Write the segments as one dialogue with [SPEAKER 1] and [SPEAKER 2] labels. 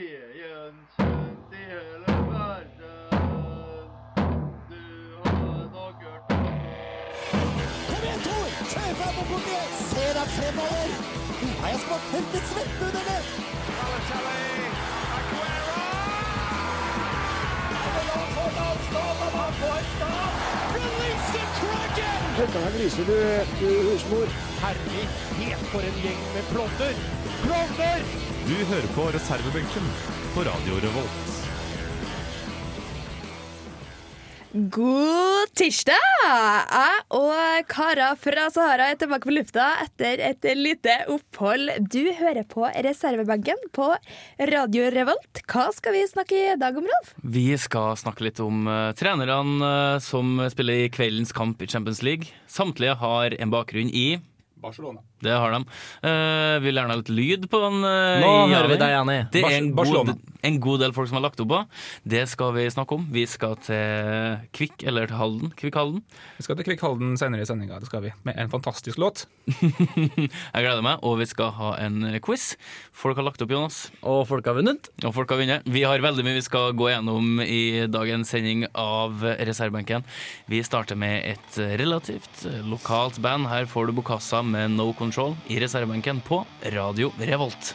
[SPEAKER 1] Veden kjent i hele verden. Du har nok hørt om
[SPEAKER 2] Kom igjen, Tor! Kjør fram og bort igjen! Se deg fremover! Nå er jeg smart helt i svette under det!
[SPEAKER 3] Du hører på reservebenken på Radio Revolt.
[SPEAKER 4] God tirsdag! Jeg og Kara fra Sahara er tilbake på lufta etter et lite opphold. Du hører på reservebenken på Radio Revolt. Hva skal vi snakke i dag om, Rolf?
[SPEAKER 5] Vi skal snakke litt om eh, trenerne eh, som spiller i kveldens kamp i Champions League. Samtlige har en bakgrunn i
[SPEAKER 6] Barcelona.
[SPEAKER 5] Det har de. Eh, vil gjerne ha litt lyd på den. eh,
[SPEAKER 7] Nå
[SPEAKER 5] i
[SPEAKER 7] hører vi
[SPEAKER 5] Javi.
[SPEAKER 7] deg, Janni.
[SPEAKER 5] Det er en god,
[SPEAKER 6] Barcelona.
[SPEAKER 5] en god del folk som har lagt opp på. Det skal vi snakke om. Vi skal til Kvikk, eller til Halden. Kvikk Halden.
[SPEAKER 6] Vi skal til Kvikk Halden senere i sendinga, det skal vi. Med en fantastisk låt.
[SPEAKER 5] Jeg gleder meg, og vi skal ha en quiz. Folk har lagt opp, Jonas.
[SPEAKER 7] Og folk har vunnet.
[SPEAKER 5] Og folk har vunnet. Vi har veldig mye vi skal gå gjennom i dagens sending av Reservebenken. Vi starter med et relativt lokalt band. Her får du Bokassa med No Control i reservebenken på Radio Revolt.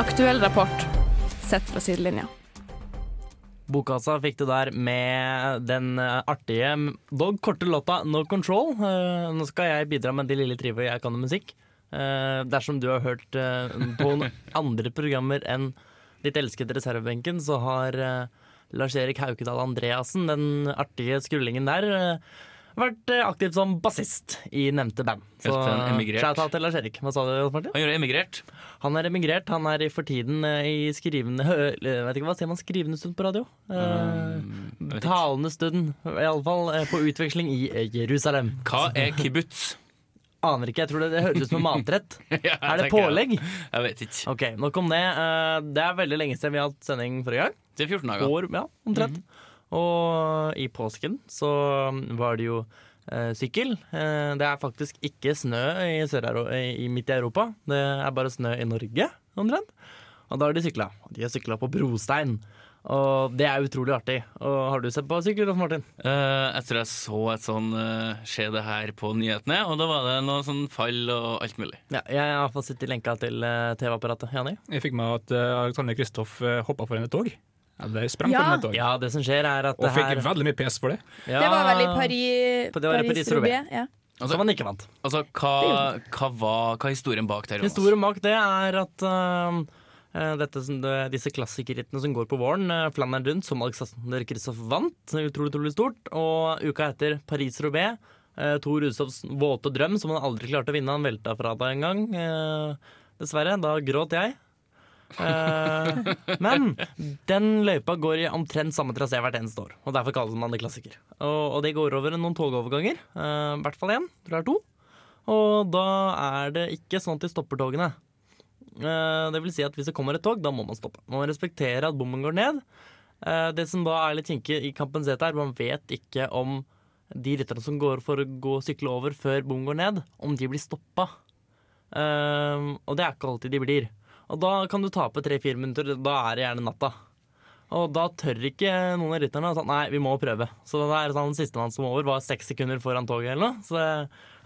[SPEAKER 8] Aktuell rapport sett fra sidelinja.
[SPEAKER 7] Bokkassa fikk du der med den eh, artige, dog korte låta No Control. Eh, Nå skal jeg bidra med det lille trivet jeg kan om musikk. Eh, Dersom du har hørt eh, på noen andre programmer enn ditt elskede reservebenken, så har eh, Lars-Erik Haukedal Andreassen, den artige skrullingen der, eh, vært eh, aktiv som bassist i nevnte band. Så eh,
[SPEAKER 5] Helt en emigrert.
[SPEAKER 7] shout-out til Lars-Erik. Hva sa du, Jens Martin?
[SPEAKER 5] Han gjør emigrert.
[SPEAKER 7] Han er emigrert. Han er i- for tiden eh, i skrivende hø- eller, Vet ikke hva sier man skrivende stund på radio? Eh,
[SPEAKER 5] vet ikke.
[SPEAKER 7] talende stund, iallfall på utveksling i eh, Jerusalem.
[SPEAKER 5] Hva er kibbutz?
[SPEAKER 7] Aner ikke, jeg tror det, det høres ut som en matrett.
[SPEAKER 5] Ja,
[SPEAKER 7] Er
[SPEAKER 5] tenker
[SPEAKER 7] det
[SPEAKER 5] jeg.
[SPEAKER 7] pålegg?
[SPEAKER 5] Jeg vet ikke.
[SPEAKER 7] Ok, nok om det. Eh, det er veldig lenge siden vi har hatt sending forrige gang.
[SPEAKER 5] Det er 14 dager.
[SPEAKER 7] År, ja, omtrent.
[SPEAKER 5] Mhm.
[SPEAKER 7] Og i påsken så um, var det jo eh, sykkel. Eh, det er faktisk ikke snø i, Sør i midt i Europa, det er bare snø i Norge, omtrent. Og da har de sykla. De har sykla på brostein. Og det er utrolig artig. Og har du sett på sykkel, Rolf Martin?
[SPEAKER 5] Eh, jeg tror jeg så et sånn eh, Se det her på nyhetene, og da var det noe sånn fall og alt mulig.
[SPEAKER 7] Ja, jeg har iallfall sittet i lenka til eh, TV-apparatet. Jani?
[SPEAKER 6] Jeg fikk med at eh, Alexander Kristoff uh, hoppa foran et tog. Ja, det sprang
[SPEAKER 4] Ja.
[SPEAKER 6] foran et tog.
[SPEAKER 7] Ja, det som skjer, er at
[SPEAKER 6] Og
[SPEAKER 7] det
[SPEAKER 6] fikk
[SPEAKER 7] her
[SPEAKER 6] veldig mye pes for det.
[SPEAKER 7] ja,
[SPEAKER 4] Det var vel i Paris,
[SPEAKER 7] Det var i Paris-Roubaix.
[SPEAKER 4] Ja.
[SPEAKER 7] Som han ikke vant.
[SPEAKER 5] Altså, hva, hva var hva er historien bak der? Jonas?
[SPEAKER 7] Historien bak det er at øhm, øh, dette, som det, disse klassikerrittene som går på våren, øh, Flandern rundt, som Alexander Kristoff vant, utrolig, utrolig stort, og uka etter Paris-Roubais, øh, Tor Rusovs våte drøm, som han aldri klarte å vinne, han velta fra deg en gang, øh, dessverre, da gråt jeg. Eh, men den løypa går i omtrent samme trasé hvert eneste år, og derfor kalles man det klassiker. Og, og det går over noen togoverganger, eh, i hvert fall én, tror jeg er to. Og da er det ikke sånn at de stopper togene. Eh, Det vil si at hvis det kommer et tog, da må man stoppe. Man må respektere at bommen går ned. Eh, Det som da er litt kinkig i kampens hete, er at man vet ikke om de rytterne som går for å gå og sykle over før bommen går ned, om de blir stoppa. Eh, Og det er ikke alltid de blir. Og da kan du tape tre-fire minutter. Da er det gjerne natta. Og da tør ikke noen av rytterne å sånn, Nei, vi må prøve. Så det er sånn, sistemann som var over, var seks sekunder foran toget eller noe. Så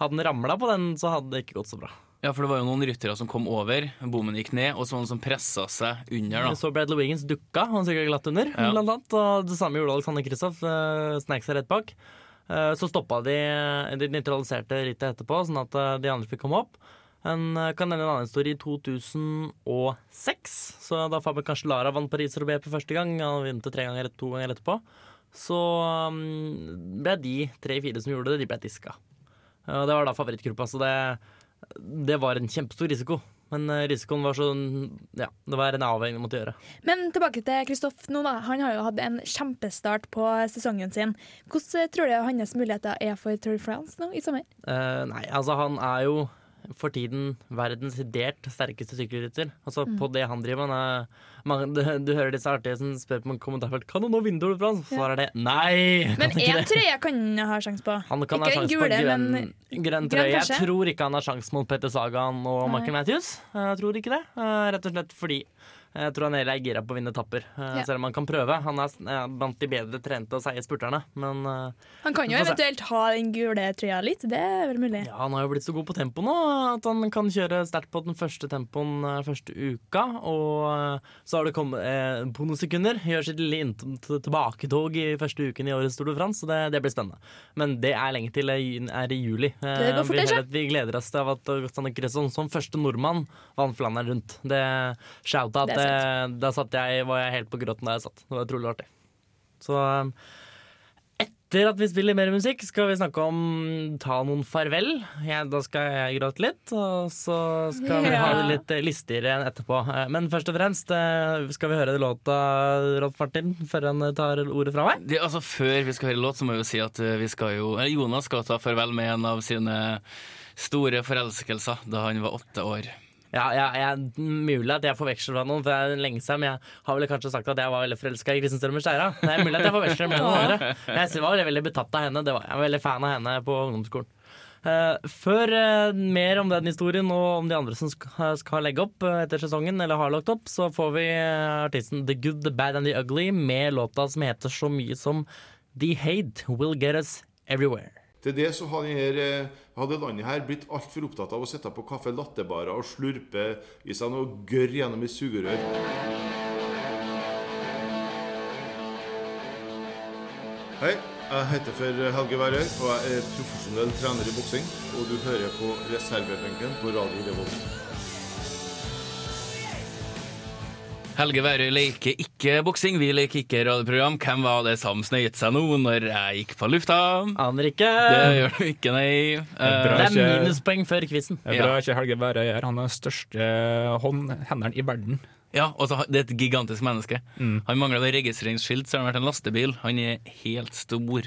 [SPEAKER 7] hadde den ramla på den, så hadde det ikke gått så bra.
[SPEAKER 5] Ja, for det var jo noen ryttere som kom over, bommen gikk ned, og så var det noen som pressa seg under, da.
[SPEAKER 7] Så Bradley Wiggins dukka, han sikkert glatt under,
[SPEAKER 5] Ja.
[SPEAKER 7] blant annet. Og det samme gjorde Alexander Kristoff. Uh, snek seg rett bak. Eh, så stoppa de de nøytraliserte rittet etterpå, sånn at eh, de andre fikk komme opp. En, eh, kan nevne en annen historie. I 2006, så da Faber Cancellara vant Paris-Roubais for første gang, han vant det tre ganger, to ganger etterpå, så mm, ble de tre-fire som gjorde det, de ble diska. Eh, og det var da favorittgruppa, så det, det var en kjempestor risiko. Men eh, risikoen var sånn Ja, det var en avveining du måtte gjøre.
[SPEAKER 4] Men tilbake til Kristoff nå, da. Han har jo hatt en kjempestart på sesongen sin. Hvordan tror du hans muligheter er for Tour de France nå i sommer?
[SPEAKER 7] Eh, nei, altså han er jo for tiden verdens desidert sterkeste sykkelrytter. Altså
[SPEAKER 9] Mm.
[SPEAKER 7] på det han driver med. Man, du, du hører disse artige som spør på en kommentarfelt Kan han nå vinduet fra? Så svarer det nei!
[SPEAKER 9] Men én trøye kan han ha sjanse på.
[SPEAKER 7] Han kan ha
[SPEAKER 9] Ikke den
[SPEAKER 7] sjanse på
[SPEAKER 9] gule,
[SPEAKER 7] grønn,
[SPEAKER 9] men
[SPEAKER 7] grønn trøye.
[SPEAKER 9] kanskje?
[SPEAKER 7] Jeg tror ikke han har sjanse mot Petter Sagan og
[SPEAKER 9] Nei.
[SPEAKER 7] Michael Matthews. Jeg tror ikke det. Eh, Rett og slett fordi jeg tror han heller er gira på å vinne etapper. Eh,
[SPEAKER 9] Ja.
[SPEAKER 7] Selv om han kan prøve. Han er eh, blant de bedre trente og seige spurterne. Men eh,
[SPEAKER 9] Han kan
[SPEAKER 7] Vi
[SPEAKER 9] jo
[SPEAKER 7] får se.
[SPEAKER 9] eventuelt ha den gule trøya litt, det er vel mulig.
[SPEAKER 7] ja, han har jo blitt så god på tempo nå at han kan kjøre sterkt på den første tempoen eh, første uka. Og eh, så har det kommet eh, bonussekunder. Gjør sitt lille innt- t- tilbaketog i første uken i årets Tour de France, så det, det blir spennende. Men det er lenge til det er i juli. Eh,
[SPEAKER 9] Det går fort,
[SPEAKER 7] vi,
[SPEAKER 9] kanskje?
[SPEAKER 7] heller- vi gleder oss til at Alexander Kresson som første nordmann vant Flandern rundt. Det shouta at
[SPEAKER 9] Det er
[SPEAKER 7] eh, da satt jeg, var jeg helt på gråten da jeg satt. Det var utrolig artig. Så eh, etter at vi spiller mer musikk, skal vi snakke om ta noen farvel. Jeg, da skal jeg gråte litt, og så skal vi ha det litt eh, listigere enn etterpå. Eh, Men først og fremst eh, skal vi høre låta Rolf Martin før han tar ordet fra meg.
[SPEAKER 5] Det, altså, før vi skal høre låt, så må jeg jo si at eh, vi skal jo, eller Jonas skal ta farvel med en av sine store forelskelser da han var åtte år.
[SPEAKER 7] Ja, ja, jeg, Mulig at jeg forveksler med noen, for det er lenge siden. Men jeg har vel kanskje sagt at jeg var veldig forelska i Kristin Strømmer Steira. Det er mulig at jeg forveksler med noen andre. Men jeg var veldig, veldig betatt av henne. Det var jeg. jeg var veldig fan av henne på ungdomsskolen. Eh, før eh, mer om den historien og om de andre som skal, skal legge opp eh, etter sesongen, eller har lagt opp, så får vi eh, artisten The Good, The Bad and The Ugly med låta som heter så mye som The Hate Will Get Us Everywhere.
[SPEAKER 10] Til det så hadde, denne, hadde landet her blitt altfor opptatt av å sitte på kaffe lattebarer og slurpe i seg noe gørr gjennom et sugerør. Hei, jeg heter for Helge Værøy, og jeg er profesjonell trener i boksing. Og du hører på reservebenken på Radio Revolt.
[SPEAKER 5] Helge Værøy leker ikke boksing, vi leker ikke radioprogram. Hvem var det som snøyt seg nå når jeg gikk på lufta?
[SPEAKER 7] Aner ikke.
[SPEAKER 5] Det
[SPEAKER 7] Det,
[SPEAKER 5] gjør du ikke, nei. Eh,
[SPEAKER 6] bra.
[SPEAKER 7] Eh, er minuspoeng før quizen.
[SPEAKER 6] Det er bra ikke Helge Værøy er. Han er den største hånd, henderen i verden.
[SPEAKER 5] ja, og så har- det er et gigantisk menneske.
[SPEAKER 7] Mm.
[SPEAKER 5] Han mangler bare registreringsskilt, så har han vært en lastebil. Han er helt stor.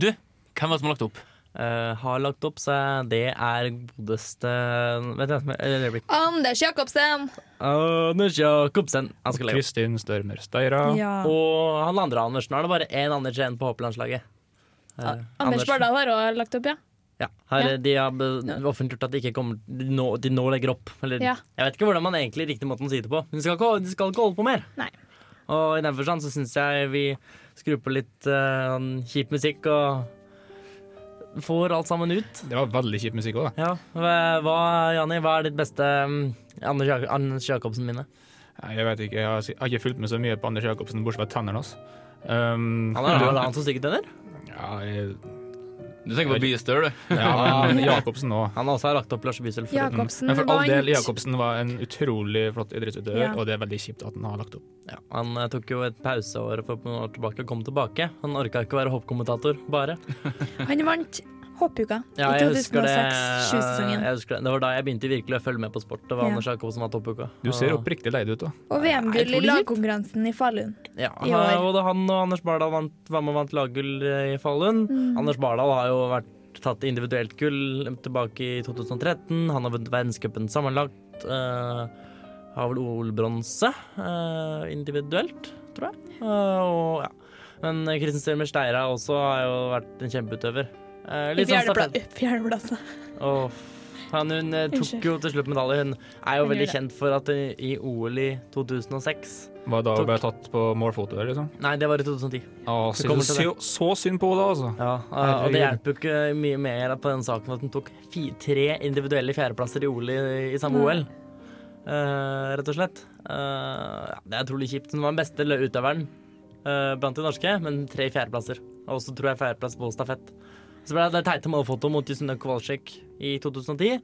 [SPEAKER 5] Du, hvem var det som har lagt opp?
[SPEAKER 7] Eh, har lagt opp, så det er godeste Vent et øyeblikk.
[SPEAKER 9] Anders Jacobsen!
[SPEAKER 7] Anders Jacobsen. Han skal legge opp.
[SPEAKER 6] Kristin Størmer Steira.
[SPEAKER 9] Ja.
[SPEAKER 7] Og han andre Andersen. Nå er det bare én Anders igjen på hopplandslaget. Eh,
[SPEAKER 9] Anders
[SPEAKER 7] Andersen.
[SPEAKER 9] Bardal har òg lagt opp, ja.
[SPEAKER 7] Ja, her,
[SPEAKER 9] Ja.
[SPEAKER 7] De har be- offentliggjort at de ikke kommer de nå, de nå legger opp. Eller,
[SPEAKER 9] Ja.
[SPEAKER 7] Jeg vet ikke hvordan man egentlig riktig måten å si det på. Men de skal ikke, de skal ikke holde på mer.
[SPEAKER 9] Nei.
[SPEAKER 7] Og i den forstand så syns jeg vi skrur på litt eh, kjip musikk og får alt sammen ut.
[SPEAKER 6] Det var veldig kjip musikk òg, da.
[SPEAKER 7] Ja, hva, hva- Jani, hva er ditt beste mm, Anders, Jak Anders Jacobsen-minne?
[SPEAKER 6] Nei, Jeg vet ikke, jeg har, jeg har ikke fulgt med så mye på Anders Jacobsen, bortsett fra tennene hans. Um,
[SPEAKER 7] Han har han har så stygge tenner.
[SPEAKER 6] ja, jeg,
[SPEAKER 5] Du tenker på Bystøl, du.
[SPEAKER 6] ja, men Jacobsen òg.
[SPEAKER 7] Han har også lagt opp Lars Bysel. for-
[SPEAKER 9] Jacobsen
[SPEAKER 6] Men for all del,
[SPEAKER 9] vant.
[SPEAKER 6] Jacobsen var en utrolig flott idrettsutøver,
[SPEAKER 9] Ja.
[SPEAKER 6] og det er veldig kjipt at han har lagt opp.
[SPEAKER 7] Ja, han eh, tok jo et pauseår for noen år tilbake og kom tilbake. Han orka ikke å være hoppkommentator, bare.
[SPEAKER 9] Han vant hoppuka
[SPEAKER 7] Ja,
[SPEAKER 9] i
[SPEAKER 7] jeg husker det. eh,
[SPEAKER 9] 2006-sesongen.
[SPEAKER 7] Jeg husker det. det var da jeg begynte virkelig å følge med på sport. Det var
[SPEAKER 9] Ja.
[SPEAKER 7] Anders Jacobsen som var toppuka.
[SPEAKER 6] Du ser
[SPEAKER 7] Og-
[SPEAKER 6] oppriktig lei deg ut, da.
[SPEAKER 9] Og VM-gull i
[SPEAKER 7] utrolig kjipt.
[SPEAKER 9] lagkonkurransen i Falun.
[SPEAKER 7] Ja,
[SPEAKER 9] i
[SPEAKER 7] han-
[SPEAKER 9] år.
[SPEAKER 7] både han og Anders Bardal vant, var med og vant laggull eh, i Falun.
[SPEAKER 9] Mm.
[SPEAKER 7] Anders Bardal har jo vært tatt individuelt gull tilbake i 2013. Han har vunnet verdenscupen sammenlagt. eh, har vel OL-bronse eh, individuelt, tror jeg. Eh, og ja. Men eh, Kristin Størmer Steira også har jo vært en kjempeutøver. Eh,
[SPEAKER 9] I
[SPEAKER 7] litt sånn
[SPEAKER 9] fjerdepla-
[SPEAKER 7] stafett-
[SPEAKER 9] fjerdeplass. da.
[SPEAKER 7] Åh, han, hun eh, tok
[SPEAKER 9] Unnskyld.
[SPEAKER 7] jo til slutt medalje. Hun er jo
[SPEAKER 9] Hun
[SPEAKER 7] veldig
[SPEAKER 9] gjorde det.
[SPEAKER 7] kjent for at eh, i OL i 2006
[SPEAKER 6] Var da
[SPEAKER 7] Tok-
[SPEAKER 6] hun ble tatt på målfoto, eller liksom.
[SPEAKER 7] Nei, det var i 2010.
[SPEAKER 6] Å, så,
[SPEAKER 7] kommer til
[SPEAKER 6] så, så synd på henne, altså.
[SPEAKER 7] Ja, eh, og det hjelper jo ikke mye mer på den saken at hun tok fi, tre individuelle fjerdeplasser i OL i, i samme OL. Eh, rett og slett. Eh, ja, det er utrolig kjipt. Hun var den beste lø- utøveren eh, blant de norske, men tre fjerdeplasser. Og så tror jeg fjerdeplass på stafett. Så ble det det teite målfoto mot Jusunne Kowalczyk i 2010.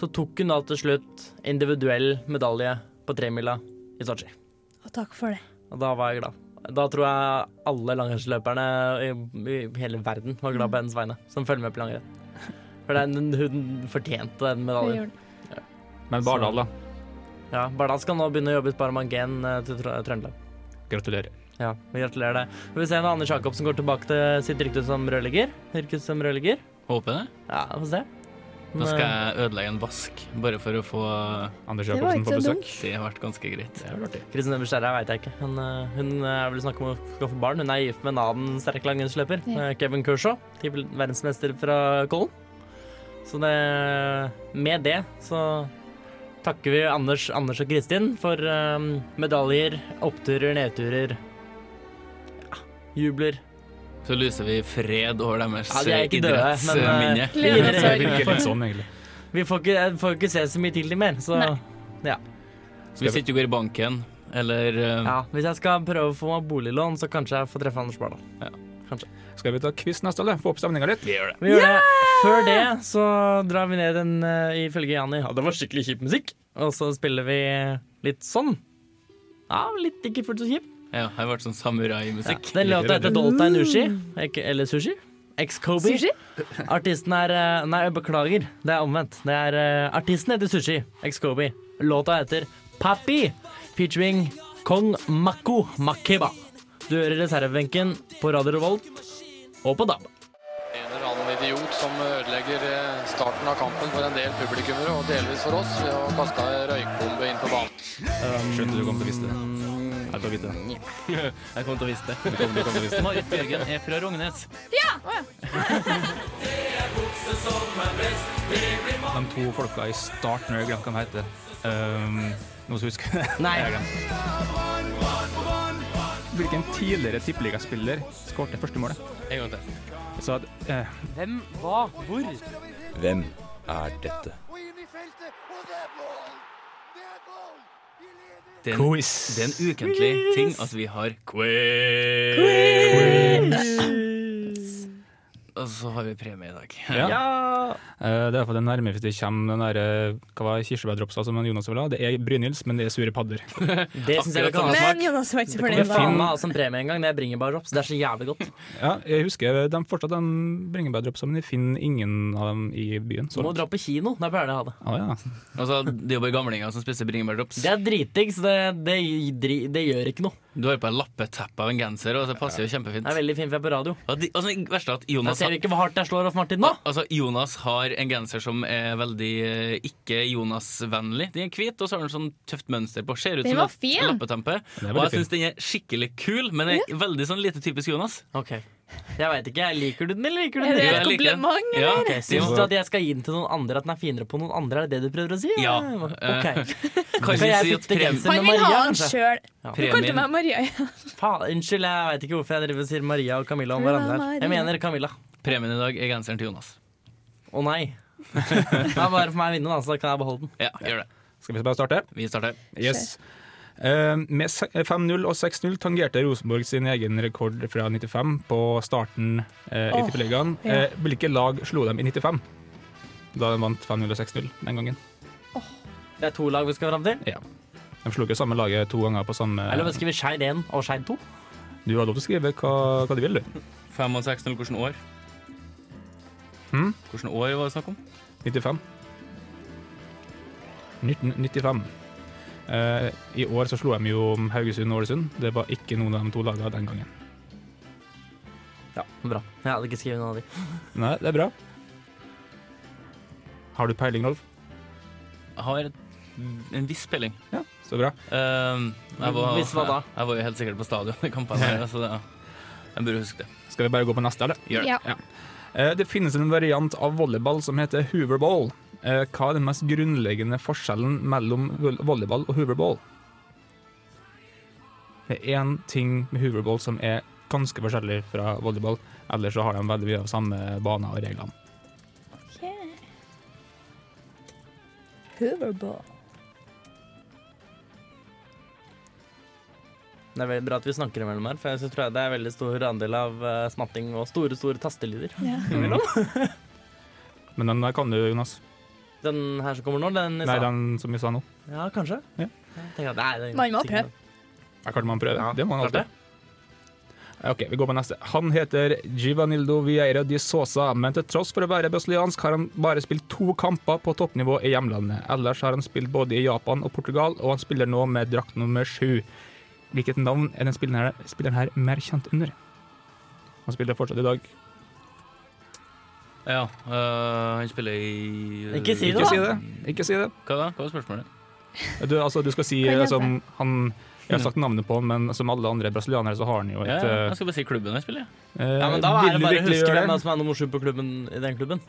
[SPEAKER 7] Så tok hun da til slutt individuell medalje på tremila i Sotsji.
[SPEAKER 9] Og takk for det.
[SPEAKER 7] Og da var jeg glad. Da tror jeg alle langrennsløperne i, i hele verden var glad på hennes vegne, som følger med på langrenn. For den, hun fortjente den
[SPEAKER 9] Vi
[SPEAKER 7] medaljen.
[SPEAKER 9] gjorde det.
[SPEAKER 6] Men Bardal, da.
[SPEAKER 7] Ja, Bardal skal nå begynne å jobbe i Sparebank 1 eh, til Tr- Trøndelag.
[SPEAKER 6] Gratulerer.
[SPEAKER 7] Ja, vi gratulerer deg. Vi får se når Anders Jacobsen går tilbake til sitt rykte som rørlegger. Yrke som rørlegger.
[SPEAKER 5] Håper det.
[SPEAKER 7] Ja, vi får se.
[SPEAKER 5] Nå skal jeg ødelegge en vask, bare for å få
[SPEAKER 6] Anders
[SPEAKER 4] Det var ikke
[SPEAKER 6] Jacobsen på
[SPEAKER 4] så
[SPEAKER 6] besøk.
[SPEAKER 4] dumt.
[SPEAKER 5] Det har vært ganske greit.
[SPEAKER 6] Det er vel artig.
[SPEAKER 7] Kristin Evers Skjæra veit jeg ikke. Hun, eh, hun eh, vil snakke om å skaffe barn. Hun er gift med en annen sterk langrennsløper,
[SPEAKER 4] Ja.
[SPEAKER 7] eh, Kevin Kershaw. til Verdensmester fra Kollen. Så det, med det så takker vi Anders, Anders og Kristin for eh, medaljer, oppturer, nedturer, ja, jubler.
[SPEAKER 5] Så lyser vi fred over deres
[SPEAKER 7] Ja, de er ikke døde, men, eh,
[SPEAKER 5] idrettsminne.
[SPEAKER 7] vi gir
[SPEAKER 6] Det
[SPEAKER 7] dere-
[SPEAKER 6] virker litt sånn, egentlig.
[SPEAKER 7] Vi får ikke, eh, får ikke se så mye til dem mer, så
[SPEAKER 8] Nei.
[SPEAKER 5] Hvis ikke du går i banken, eller eh,
[SPEAKER 7] ja, hvis jeg skal prøve å få meg boliglån, så kanskje jeg får treffe Anders Bardal.
[SPEAKER 6] Skal vi ta quiz neste, eller? Få opp stemninga litt?
[SPEAKER 5] Vi gjør det.
[SPEAKER 7] Vi gjør det. Før det så drar vi ned en eh, ifølge Jani. Ja, det var skikkelig kjip musikk. Og så spiller vi litt sånn. Ja, litt ikke fullt så kjip.
[SPEAKER 5] Ja, det har vært sånn
[SPEAKER 7] Ja.
[SPEAKER 5] samurai-musikk.
[SPEAKER 7] Den låta heter Dolta Nushi. ek- Eller Sushi. Ex-Kobe.
[SPEAKER 4] Sushi?
[SPEAKER 7] Artisten er eh, Nei, beklager. Det er omvendt. Det er eh, Artisten heter Sushi. Ex-Kobe. Låta heter Papi. Featuring Kong Mako Makeba. Du hører reservebenken på Radio Revolt og på DAB.
[SPEAKER 1] En eller annen idiot som ødelegger eh, starten av kampen for en del publikummere, og delvis for oss, ved å kaste ei røykbombe inn på banen.
[SPEAKER 6] Skjønte du kom til å vise det. Jeg tar vite det.
[SPEAKER 5] Jeg kommer til å vise det.
[SPEAKER 6] Du kom, du kom til å vise det.
[SPEAKER 5] Marit Bjørgen er fra Rognes.
[SPEAKER 6] De to folka i starten, jeg har glemt hva de heter. Um, noen som husker det?
[SPEAKER 7] Nei.
[SPEAKER 6] Jeg har glemt. Hvilken tidligere tippeligaspiller skåret første målet?
[SPEAKER 5] En gang til.
[SPEAKER 6] Så at, eh,
[SPEAKER 7] Hvem, hva, hvor?
[SPEAKER 2] Hvem er dette?
[SPEAKER 5] Det er en,
[SPEAKER 6] quiz.
[SPEAKER 5] det er en ukentlig ting at vi har quiz. Og så har vi premie i dag.
[SPEAKER 6] Ja. Eh, det er for det nærmeste vi kommer den der, eh, hva var det, kirsebærdropsa som Jonas vil ha. Det er Brynils, men det er sure padder.
[SPEAKER 7] Det syns jeg vi kan ha
[SPEAKER 9] Men
[SPEAKER 7] smak.
[SPEAKER 9] Jonas var ikke
[SPEAKER 7] Det
[SPEAKER 9] fornøyd
[SPEAKER 7] kommer faen
[SPEAKER 9] med
[SPEAKER 7] meg som premie en gang. Det er bringebærrops. Det er så jævlig godt.
[SPEAKER 6] Ja, jeg husker de fortsatt de bringebærdropsa, men jeg finner ingen av dem i byen.
[SPEAKER 7] Du
[SPEAKER 6] Så.
[SPEAKER 7] må dra på kino. Der pleier det å ha det.
[SPEAKER 6] Ah, ja.
[SPEAKER 5] Altså, det er jo bare gamlinger som spiser bringebærdrops.
[SPEAKER 7] Det er dritdigg, så det, det, dri- det gjør ikke noe.
[SPEAKER 5] Du har på deg lappeteppe av en genser, og det passer jo kjempefint.
[SPEAKER 7] Det er veldig fint for jeg er på radio.
[SPEAKER 5] Og de, altså, det verste er at
[SPEAKER 7] Da
[SPEAKER 5] Jonas
[SPEAKER 7] ser vi ikke hvor hardt jeg slår off Martin nå.
[SPEAKER 5] Al- Altså, Jonas har en genser som er veldig eh, ikke Jonas-vennlig. Den er hvit, og så har den sånn tøft mønster på. Ser ut
[SPEAKER 4] Den
[SPEAKER 5] som
[SPEAKER 4] var
[SPEAKER 5] et
[SPEAKER 4] fin.
[SPEAKER 5] lappetempe.
[SPEAKER 6] Den er
[SPEAKER 5] Og
[SPEAKER 6] veldig
[SPEAKER 5] jeg syns den er skikkelig kul, men er veldig sånn lite typisk Jonas.
[SPEAKER 7] Ok, Jeg veit ikke. jeg Liker du den, eller liker du
[SPEAKER 4] Er
[SPEAKER 7] den?
[SPEAKER 4] det et
[SPEAKER 5] Ja, jeg liker den.
[SPEAKER 4] kompliment,
[SPEAKER 5] Ja,
[SPEAKER 4] eller?
[SPEAKER 5] ok,
[SPEAKER 7] Syns
[SPEAKER 5] Simon.
[SPEAKER 7] du at jeg skal gi den til noen andre, at den er finere på noen andre? Er det det du prøver å si?
[SPEAKER 5] Ja. Eh,
[SPEAKER 7] Ok.
[SPEAKER 5] Kan
[SPEAKER 7] Kan
[SPEAKER 5] vi si at
[SPEAKER 7] jeg bytte
[SPEAKER 5] prem-
[SPEAKER 7] genser?
[SPEAKER 9] Han
[SPEAKER 7] Men
[SPEAKER 9] vil ha
[SPEAKER 7] Maria,
[SPEAKER 9] den
[SPEAKER 7] kanskje?
[SPEAKER 9] sjøl. Du kalte
[SPEAKER 5] premien
[SPEAKER 9] meg Maria. ja.
[SPEAKER 7] Faen, unnskyld, jeg veit ikke hvorfor jeg driver og sier Maria og Camilla om
[SPEAKER 4] Hun er
[SPEAKER 7] hverandre. her. Jeg
[SPEAKER 4] Maria.
[SPEAKER 7] mener Camilla.
[SPEAKER 5] Premien i dag er genseren til Jonas.
[SPEAKER 7] Å nei. Det er bare for meg å vinne, da, så da kan jeg beholde den.
[SPEAKER 5] Ja, gjør det.
[SPEAKER 6] Skal vi bare starte?
[SPEAKER 5] Vi starter.
[SPEAKER 6] Yes. Eh, med se- 5-0 og 6-0 tangerte Rosenborg sin egen rekord fra 95 på starten eh, i
[SPEAKER 9] Åh,
[SPEAKER 6] Tippeligaen.
[SPEAKER 9] ja.
[SPEAKER 6] Eh, hvilke lag slo dem i 95? Da de vant 5-0 og 6-0 den gangen.
[SPEAKER 7] Det er to lag vi skal fram til.
[SPEAKER 6] De slo ikke samme laget to ganger på samme
[SPEAKER 7] Eller skal vi Skeid 1 og Skeid 2?
[SPEAKER 6] Du har lov til å skrive hva, hva du vil, du.
[SPEAKER 5] 5 og 6 0, hvilket år?
[SPEAKER 6] Hm?
[SPEAKER 5] Hvilket år var det snakk om?
[SPEAKER 6] 95. 1995. Eh, I år så slo de jo Haugesund og Ålesund. Det var ikke noen av de to lagene den gangen.
[SPEAKER 7] Ja, bra. Jeg hadde ikke skrevet noen av de.
[SPEAKER 6] Nei, det er bra. Har du peiling, Rolf?
[SPEAKER 5] Jeg har et, en viss spilling.
[SPEAKER 6] Ja, så bra.
[SPEAKER 5] Ehm, jeg, var,
[SPEAKER 7] Hvis hva da?
[SPEAKER 5] jeg, jeg var jo helt sikkert på stadion i kampene, her, så det, jeg burde huske det.
[SPEAKER 6] Skal vi bare gå på neste, eller?
[SPEAKER 5] Gjør det.
[SPEAKER 4] Ja.
[SPEAKER 6] Eh, Det finnes en variant av volleyball som heter hooverball. Eh, Hva er den mest grunnleggende forskjellen mellom vo- volleyball og hooverball? Det er én ting med hooverball som er ganske forskjellig fra volleyball. Ellers så har de veldig mye av samme bane og reglene.
[SPEAKER 9] Hooverball.
[SPEAKER 7] Det er veldig bra at vi snakker imellom her, for jeg synes- tror jeg det er veldig stor andel av eh, smatting og store, store tastelyder.
[SPEAKER 6] Men den der kan du, Jonas.
[SPEAKER 7] Den her som kommer nå, den i
[SPEAKER 6] Nei,
[SPEAKER 7] stad.
[SPEAKER 6] den som vi sa nå.
[SPEAKER 7] Ja, kanskje?
[SPEAKER 6] Ja.
[SPEAKER 7] Jeg tenker at, nei, den-
[SPEAKER 9] Man må ha prøvd.
[SPEAKER 6] Ja, Kan man prøve?
[SPEAKER 7] Ja,
[SPEAKER 6] det må man
[SPEAKER 7] klart
[SPEAKER 6] alltid. Ok, Vi går på neste. Han heter Givanildo Vieira di Sosa, men til tross for å være brasiliansk har han bare spilt to kamper på toppnivå i hjemlandet. Ellers har han spilt både i Japan og Portugal, og han spiller nå med drakt nummer sju. Hvilket navn er den spilleren her, spilleren her mer kjent under? Han spiller fortsatt i dag.
[SPEAKER 5] Ja, øh, han spiller i
[SPEAKER 7] Ikke si
[SPEAKER 6] Ikke
[SPEAKER 7] det, da.
[SPEAKER 6] si det. Ikke si det.
[SPEAKER 5] Hva da? Hva var spørsmålet?
[SPEAKER 6] Du, altså, du skal si
[SPEAKER 9] Kan jeg
[SPEAKER 6] eh, som han Jeg har sagt navnet på han, men som alle andre brasilianere så har han jo et
[SPEAKER 5] Ja, ja,
[SPEAKER 6] eh,
[SPEAKER 5] jeg skal bare si klubben han spiller i.
[SPEAKER 6] eh,
[SPEAKER 7] Ja, men Da er det
[SPEAKER 6] ville
[SPEAKER 7] bare å
[SPEAKER 6] virkelig
[SPEAKER 7] huske
[SPEAKER 6] gjøre
[SPEAKER 7] hvem som er nummer sju på klubben i den klubben.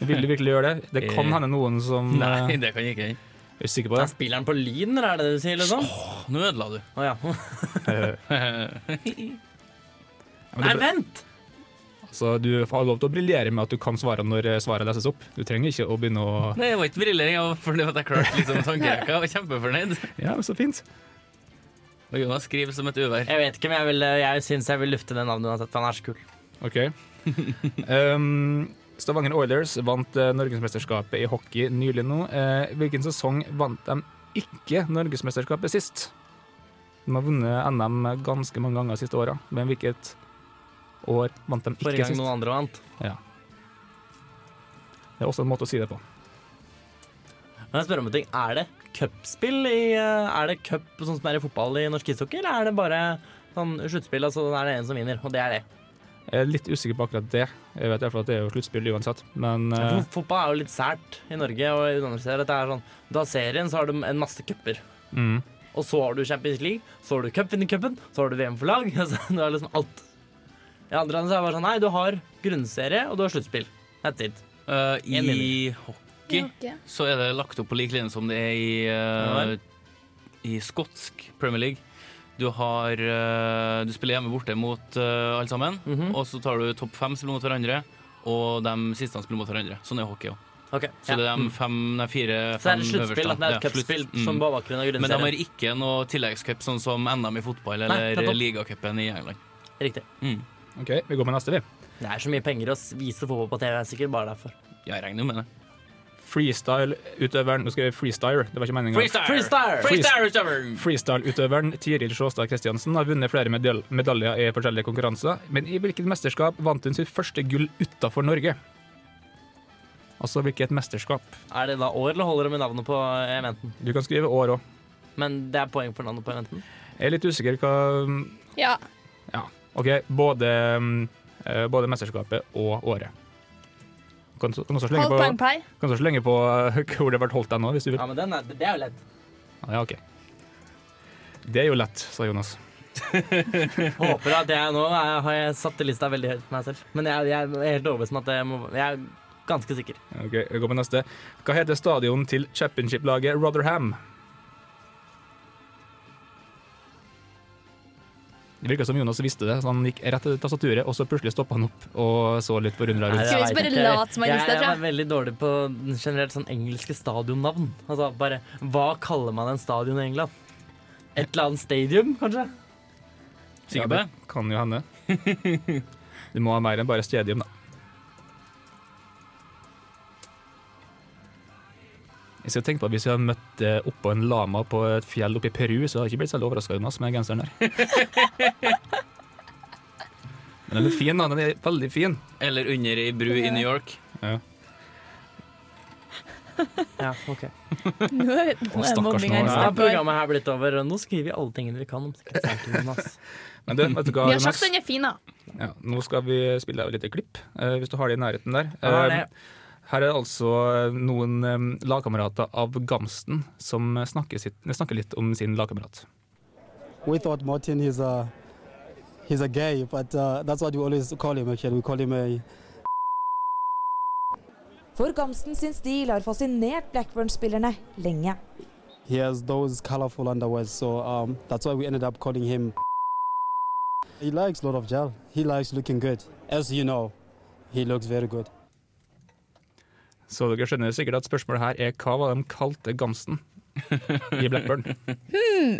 [SPEAKER 6] det. Ville virkelig gjøre det. Det kan
[SPEAKER 5] Eh.
[SPEAKER 6] hende noen som eh,
[SPEAKER 5] Nei, det kan jeg ikke hende.
[SPEAKER 6] er sikker på
[SPEAKER 7] Ja.
[SPEAKER 6] det.
[SPEAKER 7] Spiller han på Lyn, eller er det det du sier? liksom?
[SPEAKER 5] Nå ødela du.
[SPEAKER 7] Å, ja.
[SPEAKER 6] Men
[SPEAKER 7] Nei,
[SPEAKER 6] det-
[SPEAKER 7] vent!
[SPEAKER 6] altså, du har lov til å briljere med at du kan svare når eh, svaret leses opp. Du trenger ikke å begynne å
[SPEAKER 5] Nei, det var ikke brillering, jeg var fornøyd med at jeg klarte liksom tankerekka. Jeg var kjempefornøyd.
[SPEAKER 6] Ja, men så fint.
[SPEAKER 5] Og Jonas skriver som et uvær.
[SPEAKER 7] Jeg vet ikke, men jeg, vil, eh, jeg syns jeg vil lufte det navnet uansett. for Han er så kul.
[SPEAKER 6] OK. Um, Stavanger Oilers vant eh, Norgesmesterskapet i hockey nylig nå. Eh, hvilken sesong vant de ikke Norgesmesterskapet sist? De har vunnet NM ganske mange ganger de siste åra, men hvilket år vant de
[SPEAKER 7] Forrige
[SPEAKER 6] ikke
[SPEAKER 7] gang
[SPEAKER 6] sist?
[SPEAKER 7] noen andre vant.
[SPEAKER 6] Det er også en måte å si det på.
[SPEAKER 7] Men jeg spør om en ting. Er det cupspill i eh, Er det cup sånn som er i fotball i norsk ishockey, eller er det bare sånn sluttspill, altså er det en som vinner, og det er det?
[SPEAKER 6] Jeg er litt usikker på akkurat det. Jeg vet i hvert fall at det er jo sluttspill uansett, men eh,
[SPEAKER 7] Fot- Fotball er jo litt sært i Norge og i andre steder. at det er sånn, Du har serien, så har du en masse cuper.
[SPEAKER 6] mm.
[SPEAKER 7] Og så har du Champions League, så har du cupvinnercupen, så har du VM for lag. Altså, du har liksom alt. I andre land så er det bare sånn Nei, du har grunnserie, og du har sluttspill. That's it.
[SPEAKER 5] Eh,
[SPEAKER 7] En
[SPEAKER 5] I hockey
[SPEAKER 9] Okay.
[SPEAKER 5] så er det lagt opp på lik linje som det er i, eh,
[SPEAKER 7] Ja vel.
[SPEAKER 5] i skotsk Premier League. Du, har, eh, du spiller hjemme borte mot eh, alle sammen,
[SPEAKER 7] Mhm.
[SPEAKER 5] og så tar du topp fem spiller mot hverandre, og de siste spiller mot hverandre. Sånn er hockey òg.
[SPEAKER 7] Ok,
[SPEAKER 5] Så det er de fem, nei, fire,
[SPEAKER 7] Mm. så er
[SPEAKER 5] fem
[SPEAKER 7] det
[SPEAKER 5] øverste.
[SPEAKER 7] sluttspill. at Det er et
[SPEAKER 5] Ja,
[SPEAKER 7] cupspill
[SPEAKER 5] slutt-
[SPEAKER 7] som
[SPEAKER 5] mm.
[SPEAKER 7] på bakgrunn av
[SPEAKER 5] Men de har
[SPEAKER 7] grunnserien.
[SPEAKER 5] ikke noe tilleggscup, sånn som NM i fotball
[SPEAKER 7] Nei,
[SPEAKER 5] eller eh,
[SPEAKER 7] nettopp.
[SPEAKER 5] ligacupen i England.
[SPEAKER 7] Riktig.
[SPEAKER 5] Mm.
[SPEAKER 6] OK, vi går med neste, vi.
[SPEAKER 7] Det er så mye penger å s- vise fotball på TV, det er sikkert bare derfor.
[SPEAKER 5] Jeg regner jo med det.
[SPEAKER 6] Freestyle-utøveren Nå skrev jeg freestyle, det var ikke meninga.
[SPEAKER 7] Freestyle!
[SPEAKER 5] Freestyle utøver!
[SPEAKER 6] Freestyle-utøveren Tiril Sjåstad Kristiansen har vunnet flere medal medaljer i forskjellige konkurranser, men i hvilket mesterskap vant hun sitt første gull utenfor Norge? Altså hvilket mesterskap?
[SPEAKER 7] Er det da år, eller holder det med navnet på eh, eventen?
[SPEAKER 6] Du kan skrive år òg.
[SPEAKER 7] Men det er poeng for navnet på eventen.
[SPEAKER 6] Jeg er litt usikker hva
[SPEAKER 9] Ja.
[SPEAKER 6] OK, både, eh, både mesterskapet og året. Kan, så- kan også slenge
[SPEAKER 9] Halv
[SPEAKER 6] på,
[SPEAKER 9] poeng pai.
[SPEAKER 6] kan også slenge på eh, hvor det ble holdt deg nå, hvis du vil.
[SPEAKER 7] Ja, men den er, Det er jo lett.
[SPEAKER 6] Ja, OK. Det er jo lett, sa Jonas.
[SPEAKER 7] Håper at jeg nå jeg, har jeg satt lista veldig høyt for meg selv. Men jeg, jeg er helt overbevist om at jeg, må, jeg er ganske sikker.
[SPEAKER 6] Ok, vi går på neste. Hva heter stadion til championship-laget Rotherham? Det virka som Jonas visste det, så han gikk rett til tastaturet, og så plutselig stoppa han opp og så litt forundra
[SPEAKER 7] Nei,
[SPEAKER 6] rundt.
[SPEAKER 7] jeg
[SPEAKER 9] Skal vi
[SPEAKER 7] vet
[SPEAKER 9] bare
[SPEAKER 7] ikke.
[SPEAKER 9] late som han
[SPEAKER 7] Jeg-
[SPEAKER 9] visste det, tror
[SPEAKER 7] Jeg er veldig dårlig på generelt sånn engelske stadionnavn. Altså bare, Hva kaller man en stadion i England? Et eller annet stadium, kanskje?
[SPEAKER 5] Sikker på det?
[SPEAKER 6] Kan jo hende. Du må ha mer enn bare stadium, da. Hvis jeg tenker på at Hvis jeg hadde møtt eh, oppå en lama på et fjell oppe i Peru, så hadde jeg ikke blitt særlig overraska, Jonas, med genseren der. Men den er fin, da. Den er veldig fin.
[SPEAKER 5] Eller under ei bru i New York.
[SPEAKER 7] Ja, ok.
[SPEAKER 9] Nå er nå er
[SPEAKER 6] stakkars nå, ja.
[SPEAKER 7] Nå
[SPEAKER 9] mobbinga i
[SPEAKER 7] er
[SPEAKER 9] stedet for.
[SPEAKER 7] programmet her blitt over. og Nå skriver vi alle tingene vi kan om sikkerhetssaken. ass.
[SPEAKER 6] Men du, vet du hva,
[SPEAKER 9] Vi har
[SPEAKER 6] Jonas?
[SPEAKER 9] sagt den er fin, da.
[SPEAKER 6] Ja, nå skal vi spille av et lite klipp, eh, hvis du har det i nærheten der.
[SPEAKER 7] Ja, det
[SPEAKER 6] Eh,
[SPEAKER 7] er det.
[SPEAKER 6] her er altså eh, noen eh, lagkamerater av Gamsten som snakker, sitt, snakker litt om sin lagkamerat.
[SPEAKER 2] We thought Martin he's a he's a gay, but uh, that's what we always call him. Actually, we call him a
[SPEAKER 11] For Gamsten sin stil har fascinert Blackburn-spillerne lenge.
[SPEAKER 2] he has those colorful underwears, so um, that's why we ended up calling him. He likes a lot of gel. He likes looking good, as you know. He looks very good.
[SPEAKER 6] Så dere skjønner sikkert at spørsmålet her er hva var de kalte Gamsten i Blackburn?
[SPEAKER 7] Hmm.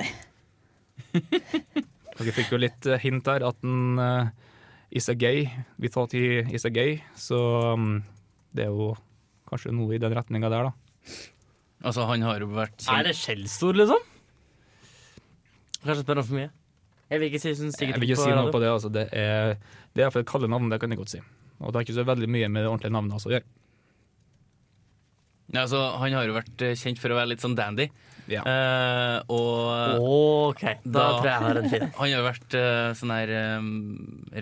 [SPEAKER 6] Dere fikk jo litt eh, hint der at han eh, is a gay. We thought he is a gay. Så mm, det er jo kanskje noe i den retninga der, da.
[SPEAKER 5] Altså, han har jo vært
[SPEAKER 7] Er
[SPEAKER 5] kjent
[SPEAKER 7] det skjellsord, liksom? Kanskje jeg spør om for mye. Jeg vil ikke si sånn sikkert
[SPEAKER 6] Jeg vil ikke si
[SPEAKER 7] radio.
[SPEAKER 6] noe på det. Altså. Det er, det er iallfall et kallenavn, det kan jeg godt si. Og det har ikke så veldig mye med det ordentlige navnet altså, å gjøre.
[SPEAKER 5] Ja, altså, han har jo vært eh, kjent for å være litt sånn dandy. Eh, og
[SPEAKER 7] Ok, da tror jeg jeg har en fin.
[SPEAKER 5] Han har jo vært eh, sånn her eh,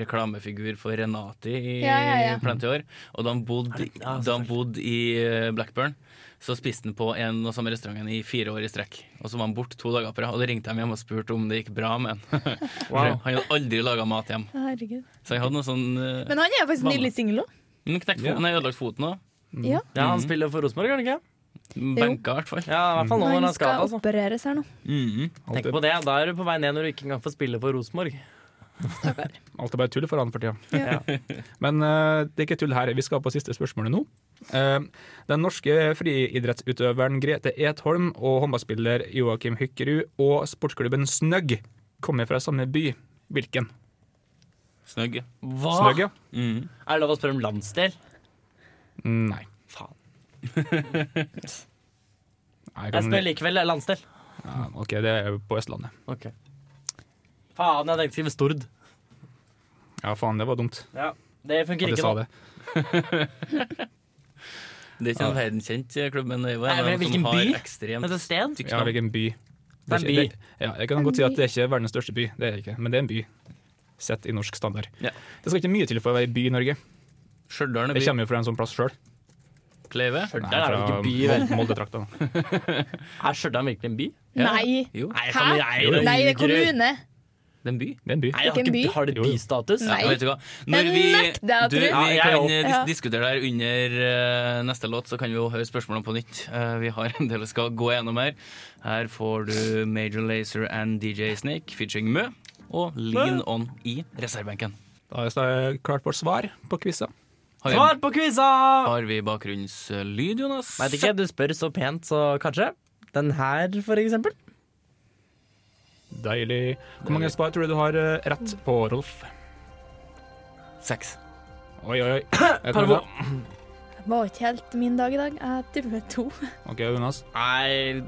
[SPEAKER 5] reklamefigur for Renati i
[SPEAKER 7] Ja, ja, ja.
[SPEAKER 5] plenty år. Og da han bodde, da han bodde i eh, Blackburn, så spiste han på en og samme restauranten i fire år i strekk. Og så var han borte to dager på rad, og da ringte de hjem og spurte om det gikk bra med han.
[SPEAKER 7] Wow.
[SPEAKER 5] han hadde aldri laga mat hjem.
[SPEAKER 9] Herregud.
[SPEAKER 5] Så han hadde noe sånn eh,
[SPEAKER 9] Men han er faktisk
[SPEAKER 5] vann-
[SPEAKER 9] nylig singel òg.
[SPEAKER 5] Han knekte foten, han har ødelagt foten òg.
[SPEAKER 9] Ja.
[SPEAKER 7] Ja,
[SPEAKER 6] Mm.
[SPEAKER 7] han spiller for Rosenborg, gjør han ikke?
[SPEAKER 5] Benka, i hvert fall.
[SPEAKER 7] Ja, i hvert fall nå når
[SPEAKER 9] Han
[SPEAKER 7] han skal,
[SPEAKER 9] skal
[SPEAKER 7] altså.
[SPEAKER 9] opereres her nå.
[SPEAKER 7] Tenk på det, da er du på vei ned når du ikke engang får spille for Rosenborg.
[SPEAKER 6] Alt er bare tull for han for tida.
[SPEAKER 7] Ja.
[SPEAKER 6] Men eh, det er ikke tull her. Vi skal på siste spørsmålet nå. Eh, den norske friidrettsutøveren Grete Etholm og håndballspiller Joakim Hykkerud og sportsklubben Snøgg kommer fra samme by. Hvilken?
[SPEAKER 5] Snøgg.
[SPEAKER 7] Hva?
[SPEAKER 6] Snøgg, ja.
[SPEAKER 7] Er det lov å spørre om landsdel?
[SPEAKER 6] Nei.
[SPEAKER 7] Faen.
[SPEAKER 6] Nei,
[SPEAKER 7] Jeg
[SPEAKER 6] kan-
[SPEAKER 7] spør likevel eh, landsdel.
[SPEAKER 6] Ja, OK, det er på Østlandet.
[SPEAKER 7] Ok. Faen, jeg tenkte å skrive Stord.
[SPEAKER 6] Ja, faen, det var dumt.
[SPEAKER 7] Ja, det funker
[SPEAKER 6] At jeg
[SPEAKER 7] ikke
[SPEAKER 6] sa
[SPEAKER 7] nå.
[SPEAKER 6] det.
[SPEAKER 5] Det er ikke en verdenskjent eh, klubb, men det er jo
[SPEAKER 7] Nei,
[SPEAKER 5] en av
[SPEAKER 7] men
[SPEAKER 5] dem
[SPEAKER 7] hvilken
[SPEAKER 5] som har
[SPEAKER 7] by?
[SPEAKER 5] ekstremt
[SPEAKER 7] Er det et sted?
[SPEAKER 5] stygt
[SPEAKER 6] Ja,
[SPEAKER 5] navn.
[SPEAKER 6] hvilken by.
[SPEAKER 7] Det er en
[SPEAKER 6] ikke-
[SPEAKER 7] by.
[SPEAKER 6] Det, ja, jeg kan godt si at det er ikke verdens største by, det er det ikke, men det er en by. Sett i norsk standard.
[SPEAKER 5] Ja.
[SPEAKER 6] Det skal ikke mye til for å være by i Norge.
[SPEAKER 5] Stjørdal er
[SPEAKER 6] Jeg
[SPEAKER 5] by.
[SPEAKER 6] kommer jo fra en sånn plass sjøl.
[SPEAKER 5] Kleive.
[SPEAKER 7] Stjørdal er jo ikke by, vel?
[SPEAKER 6] Moldetrakta. da.
[SPEAKER 7] Er Stjørdal virkelig en by?
[SPEAKER 9] Nei.
[SPEAKER 5] Jo.
[SPEAKER 7] Nei,
[SPEAKER 9] Hæ?
[SPEAKER 7] faen, jeg,
[SPEAKER 9] Nei, det er kommune.
[SPEAKER 5] Det er en by.
[SPEAKER 6] Det er en by.
[SPEAKER 7] Nei, jeg har
[SPEAKER 9] Ikke en by.
[SPEAKER 7] ikke, har det
[SPEAKER 6] Jo, jo.
[SPEAKER 7] bystatus?
[SPEAKER 9] Nei.
[SPEAKER 5] Ja, vet du hva? Når
[SPEAKER 9] Det
[SPEAKER 5] vi,
[SPEAKER 9] nekter jeg å
[SPEAKER 5] du,
[SPEAKER 9] tro.
[SPEAKER 5] vi
[SPEAKER 9] Ja,
[SPEAKER 7] jeg
[SPEAKER 5] kan
[SPEAKER 7] også.
[SPEAKER 5] eh, dis
[SPEAKER 9] Ja.
[SPEAKER 5] diskutere det her under eh, neste låt, så kan vi jo høre spørsmålene på nytt. Eh, vi har en del vi skal gå gjennom her. Her får du Major Lazer and DJ Snake featuring Mø og Lean On i reservebenken.
[SPEAKER 6] Da er det klart for svar på quiza.
[SPEAKER 5] Har vi,
[SPEAKER 7] Svar på quiza!
[SPEAKER 5] har vi bakgrunnslyd, Jonas?
[SPEAKER 7] Veit ikke, du spør så pent, så kanskje. Den her, for eksempel.
[SPEAKER 6] Deilig. Hvor mange svar tror du du har eh, rett på, Rolf?
[SPEAKER 5] Seks.
[SPEAKER 6] Oi, oi, oi. Jeg kommer
[SPEAKER 7] Parvo.
[SPEAKER 6] fra-
[SPEAKER 9] Det var ikke helt min dag i dag. Jeg tipper to.
[SPEAKER 6] OK, Jonas.
[SPEAKER 7] Nei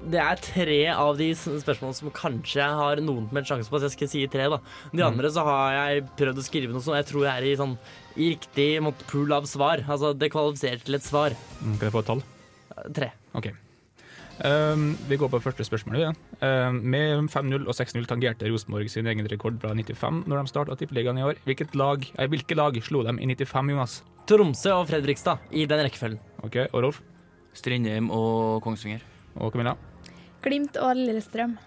[SPEAKER 7] Det er tre av de s- spørsmålene som kanskje jeg har noen som helst sjanse på. Så jeg skal si tre, da. De andre så har jeg prøvd å skrive noe som jeg tror er i sånn i riktig på en måte, pool av svar. Altså det kvalifiserer til et svar.
[SPEAKER 6] Mm, Kan jeg få et tall?
[SPEAKER 7] Tre.
[SPEAKER 6] OK. Um, vi går på første spørsmål. Ja. Um, med 5-0 og 6-0 tangerte Rosenborg sin egen rekord fra 95 når de starta Tippeligaen i år. Hvilket lag, eh, hvilke lag slo dem i 95, Jonas?
[SPEAKER 7] Tromsø og Fredrikstad i den rekkefølgen.
[SPEAKER 6] OK, og Rolf
[SPEAKER 5] Strindheim og Kongsvinger.
[SPEAKER 6] og Camilla?
[SPEAKER 9] Glimt og Lillestrøm.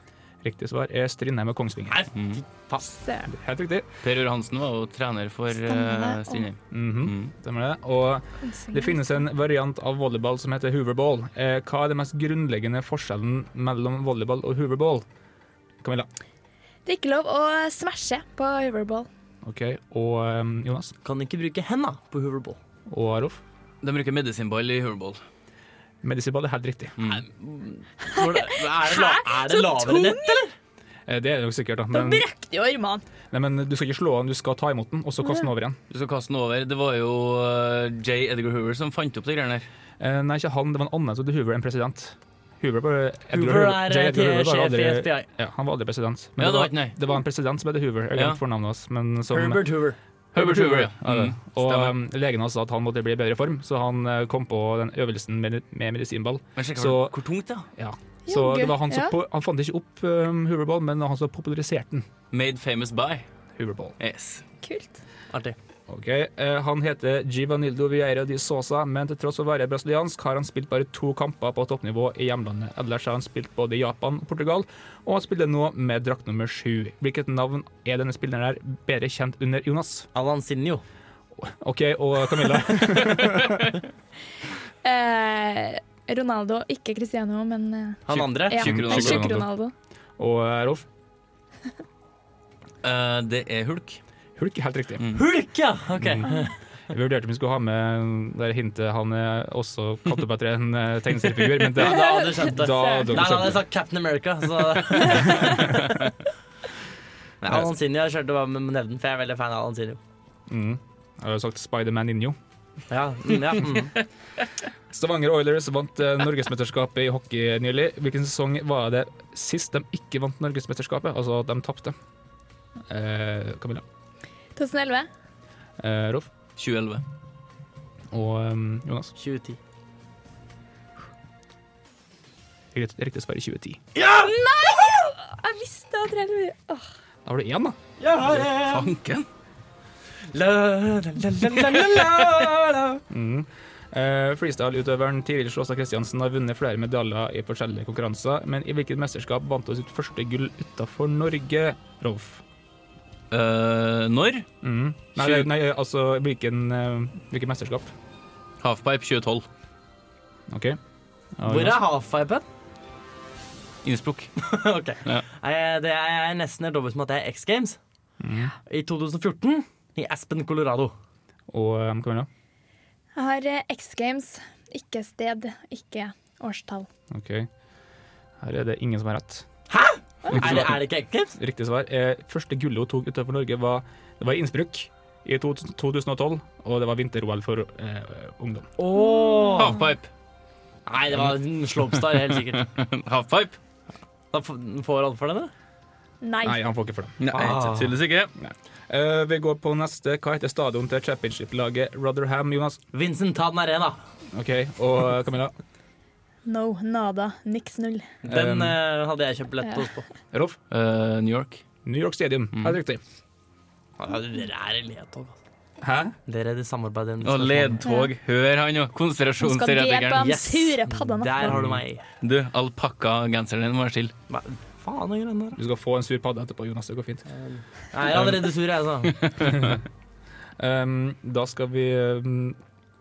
[SPEAKER 6] Riktig svar er Strindheim og Kongsvinger.
[SPEAKER 7] Nei,
[SPEAKER 5] Mm.
[SPEAKER 9] Søren.
[SPEAKER 6] Helt riktig.
[SPEAKER 5] Per Øre Hansen var jo trener for eh,
[SPEAKER 9] Stemmer det.
[SPEAKER 5] Strindheim.
[SPEAKER 6] Mhm,
[SPEAKER 5] Mm.
[SPEAKER 6] Stemmer det. Og det finnes en variant av volleyball som heter hooverball. Eh, hva er den mest grunnleggende forskjellen mellom volleyball og hooverball? Camilla.
[SPEAKER 9] Det er ikke lov å smashe på hoverball.
[SPEAKER 6] OK. Og um, Jonas.
[SPEAKER 7] Kan ikke bruke henda på hoverball.
[SPEAKER 6] Og Rolf.
[SPEAKER 5] De bruker medisinball i hurlball.
[SPEAKER 6] Medisinball er helt riktig.
[SPEAKER 5] Mm.
[SPEAKER 7] Hvor- Er det, la er det lavere enn dette?
[SPEAKER 6] Eh, det er det jo sikkert, da.
[SPEAKER 9] Da
[SPEAKER 6] Men,
[SPEAKER 9] brekte jo armene.
[SPEAKER 6] nei, men du skal ikke slå den, du skal ta imot den, og så kaste den over igjen.
[SPEAKER 5] Du skal kaste den over. Det var jo eh, J. Edgar Hoover som fant opp de greiene der.
[SPEAKER 6] Eh, nei, ikke han. Det var en annen som het Hoover enn president. Hoover, bare, Edgar
[SPEAKER 7] Hoover er
[SPEAKER 6] J. Edgar
[SPEAKER 7] eh,
[SPEAKER 6] Hoover var
[SPEAKER 7] sjef i
[SPEAKER 6] aldri-
[SPEAKER 7] FBI.
[SPEAKER 6] Ja, han var aldri president.
[SPEAKER 5] Ja, det
[SPEAKER 6] det,
[SPEAKER 5] var ikke
[SPEAKER 6] var,
[SPEAKER 5] nei.
[SPEAKER 6] det var en president som het Hoover. Jeg
[SPEAKER 5] Ja.
[SPEAKER 6] glemte fornavnet hans. Men som,
[SPEAKER 7] Herbert Hoover.
[SPEAKER 5] Herbert Hoover, ja.
[SPEAKER 6] Ja, det.
[SPEAKER 5] Mm,
[SPEAKER 6] og
[SPEAKER 5] stemmer.
[SPEAKER 6] um, legen hans sa at han måtte bli i bedre form, så han eh, kom på den øvelsen med, med medisinball.
[SPEAKER 5] Men sjekk
[SPEAKER 6] Så-
[SPEAKER 5] hvor tungt, da.
[SPEAKER 6] Så
[SPEAKER 9] Jogge,
[SPEAKER 6] det var han som
[SPEAKER 9] ja.
[SPEAKER 6] på, Han fant ikke opp um, hooverball, men han som populariserte den.
[SPEAKER 5] Made famous by.
[SPEAKER 6] Hooverball.
[SPEAKER 5] Yes.
[SPEAKER 9] Kult.
[SPEAKER 7] Artig.
[SPEAKER 6] Ok, eh, Han heter Givanildo Vieira di Sosa, men til tross for å være brasiliansk har han spilt bare to kamper på toppnivå i hjemlandet. Ellers har han spilt både i Japan og Portugal, og han spiller nå med drakt nummer sju. Hvilket navn er denne spilleren her bedre kjent under Jonas?
[SPEAKER 7] Alan Sinjo.
[SPEAKER 6] OK, og Camilla?
[SPEAKER 9] Eh, Ronaldo, ikke Cristiano, men eh,
[SPEAKER 7] Han andre.
[SPEAKER 9] ja.
[SPEAKER 5] Tjukk Ronaldo.
[SPEAKER 9] Tjukk Ronaldo.
[SPEAKER 6] og eh, Rolf?
[SPEAKER 5] Eh, det er hulk.
[SPEAKER 6] Hulk, helt riktig.
[SPEAKER 7] Hulk, ja! Ok.
[SPEAKER 6] Jeg vurderte om vi skulle ha med det hintet han er også kalte opp etter en eh, tegneseriefigur, men det,
[SPEAKER 7] Da hadde du skjønt det.
[SPEAKER 6] da hadde
[SPEAKER 7] Nei,
[SPEAKER 6] dere
[SPEAKER 7] han
[SPEAKER 6] skjønt
[SPEAKER 7] hadde
[SPEAKER 6] det.
[SPEAKER 7] sagt Captain America, så Nei,
[SPEAKER 5] altså,
[SPEAKER 7] Alan Sinjo jeg kjørte bare med å nevne den, for jeg er veldig fan av Alan Sinjo.
[SPEAKER 6] Mm. Jeg har jo sagt Spiderman Ninjo.
[SPEAKER 7] Ja, mm, ja, mm.
[SPEAKER 6] Stavanger Oilers vant eh, Norgesmesterskapet i hockey nylig. Hvilken sesong var det sist de ikke vant Norgesmesterskapet? Altså at de tapte. Eh, Camilla,
[SPEAKER 9] 2011.
[SPEAKER 6] eh, Rolf
[SPEAKER 5] 2011.
[SPEAKER 6] og eh, Jonas.
[SPEAKER 7] 2010.
[SPEAKER 6] Riktig svar i 2010.
[SPEAKER 4] Nei! Jeg visste at det var Åh.
[SPEAKER 6] Da var det én, da.
[SPEAKER 7] Ja, ja.
[SPEAKER 6] Fanken.
[SPEAKER 7] La, la, la, la, la, la, la.
[SPEAKER 6] Mm. Eh, Freestyle-utøveren Tiril Sjåstad Kristiansen har vunnet flere medaljer i forskjellige konkurranser, men i hvilket mesterskap vant hun sitt første gull utenfor Norge, Rolf?
[SPEAKER 5] Eh, når?
[SPEAKER 6] Mm. Nei, nei, nei, altså hvilken, eh, hvilket mesterskap?
[SPEAKER 5] Halfpipe 2012.
[SPEAKER 6] OK.
[SPEAKER 7] Hvor er halfpipen?
[SPEAKER 5] Innsbruck.
[SPEAKER 7] ok.
[SPEAKER 5] Ja.
[SPEAKER 7] Jeg, det er, jeg er nesten helt overbevist om at det er X Games.
[SPEAKER 6] Mm.
[SPEAKER 7] I 2014 i Aspen, Colorado.
[SPEAKER 6] Og eh, Camilla?
[SPEAKER 9] Jeg har eh, X Games. Ikke sted, ikke årstall.
[SPEAKER 6] OK. Her er det ingen som har rett.
[SPEAKER 7] Er det, er det ikke X Games?
[SPEAKER 6] Riktig svar. Eh, første gullet hun tok utenfor Norge, var, det var i Innsbruck i to- 2012, og det var vinter-OL for eh, ungdom.
[SPEAKER 7] Åh.
[SPEAKER 5] Halfpipe.
[SPEAKER 7] Nei, det var en slopestar, helt sikkert.
[SPEAKER 5] Halfpipe?
[SPEAKER 7] Da f- får alle for den, da?
[SPEAKER 9] Nei.
[SPEAKER 6] Nei, han får ikke for det.
[SPEAKER 5] Nei,
[SPEAKER 7] Ah.
[SPEAKER 5] tydeligvis ikke.
[SPEAKER 6] Eh, vi går på neste. Hva heter stadion til championship-laget Rotherham, Jonas?
[SPEAKER 7] Vincent Tan Arena.
[SPEAKER 6] OK, og eh, Camilla?
[SPEAKER 9] No, nada, niks, null.
[SPEAKER 7] Den
[SPEAKER 6] Um.
[SPEAKER 7] eh, hadde jeg kjøpt billett hos på.
[SPEAKER 6] Rolf?
[SPEAKER 5] Eh, New York.
[SPEAKER 6] New York Stadium.
[SPEAKER 5] Mm.
[SPEAKER 6] Er det riktig?
[SPEAKER 7] Ja, Dere er i ledtog. altså.
[SPEAKER 6] Hæ?
[SPEAKER 7] Dere er i samarbeid. i
[SPEAKER 5] Og ledtog. Hør han nå!
[SPEAKER 9] Hun skal dele på
[SPEAKER 5] Konspirasjonsredegeren.
[SPEAKER 9] den
[SPEAKER 7] Yes.
[SPEAKER 9] sure padda
[SPEAKER 7] Der
[SPEAKER 9] natta.
[SPEAKER 7] har du meg.
[SPEAKER 5] Du, alpakkagenseren din må være stille.
[SPEAKER 7] Hva faen er greia der?
[SPEAKER 6] Du skal få en sur padde etterpå, Jonas. Det går fint.
[SPEAKER 7] Nei, Jeg er allerede sur, jeg, altså.
[SPEAKER 6] Um, da skal vi um,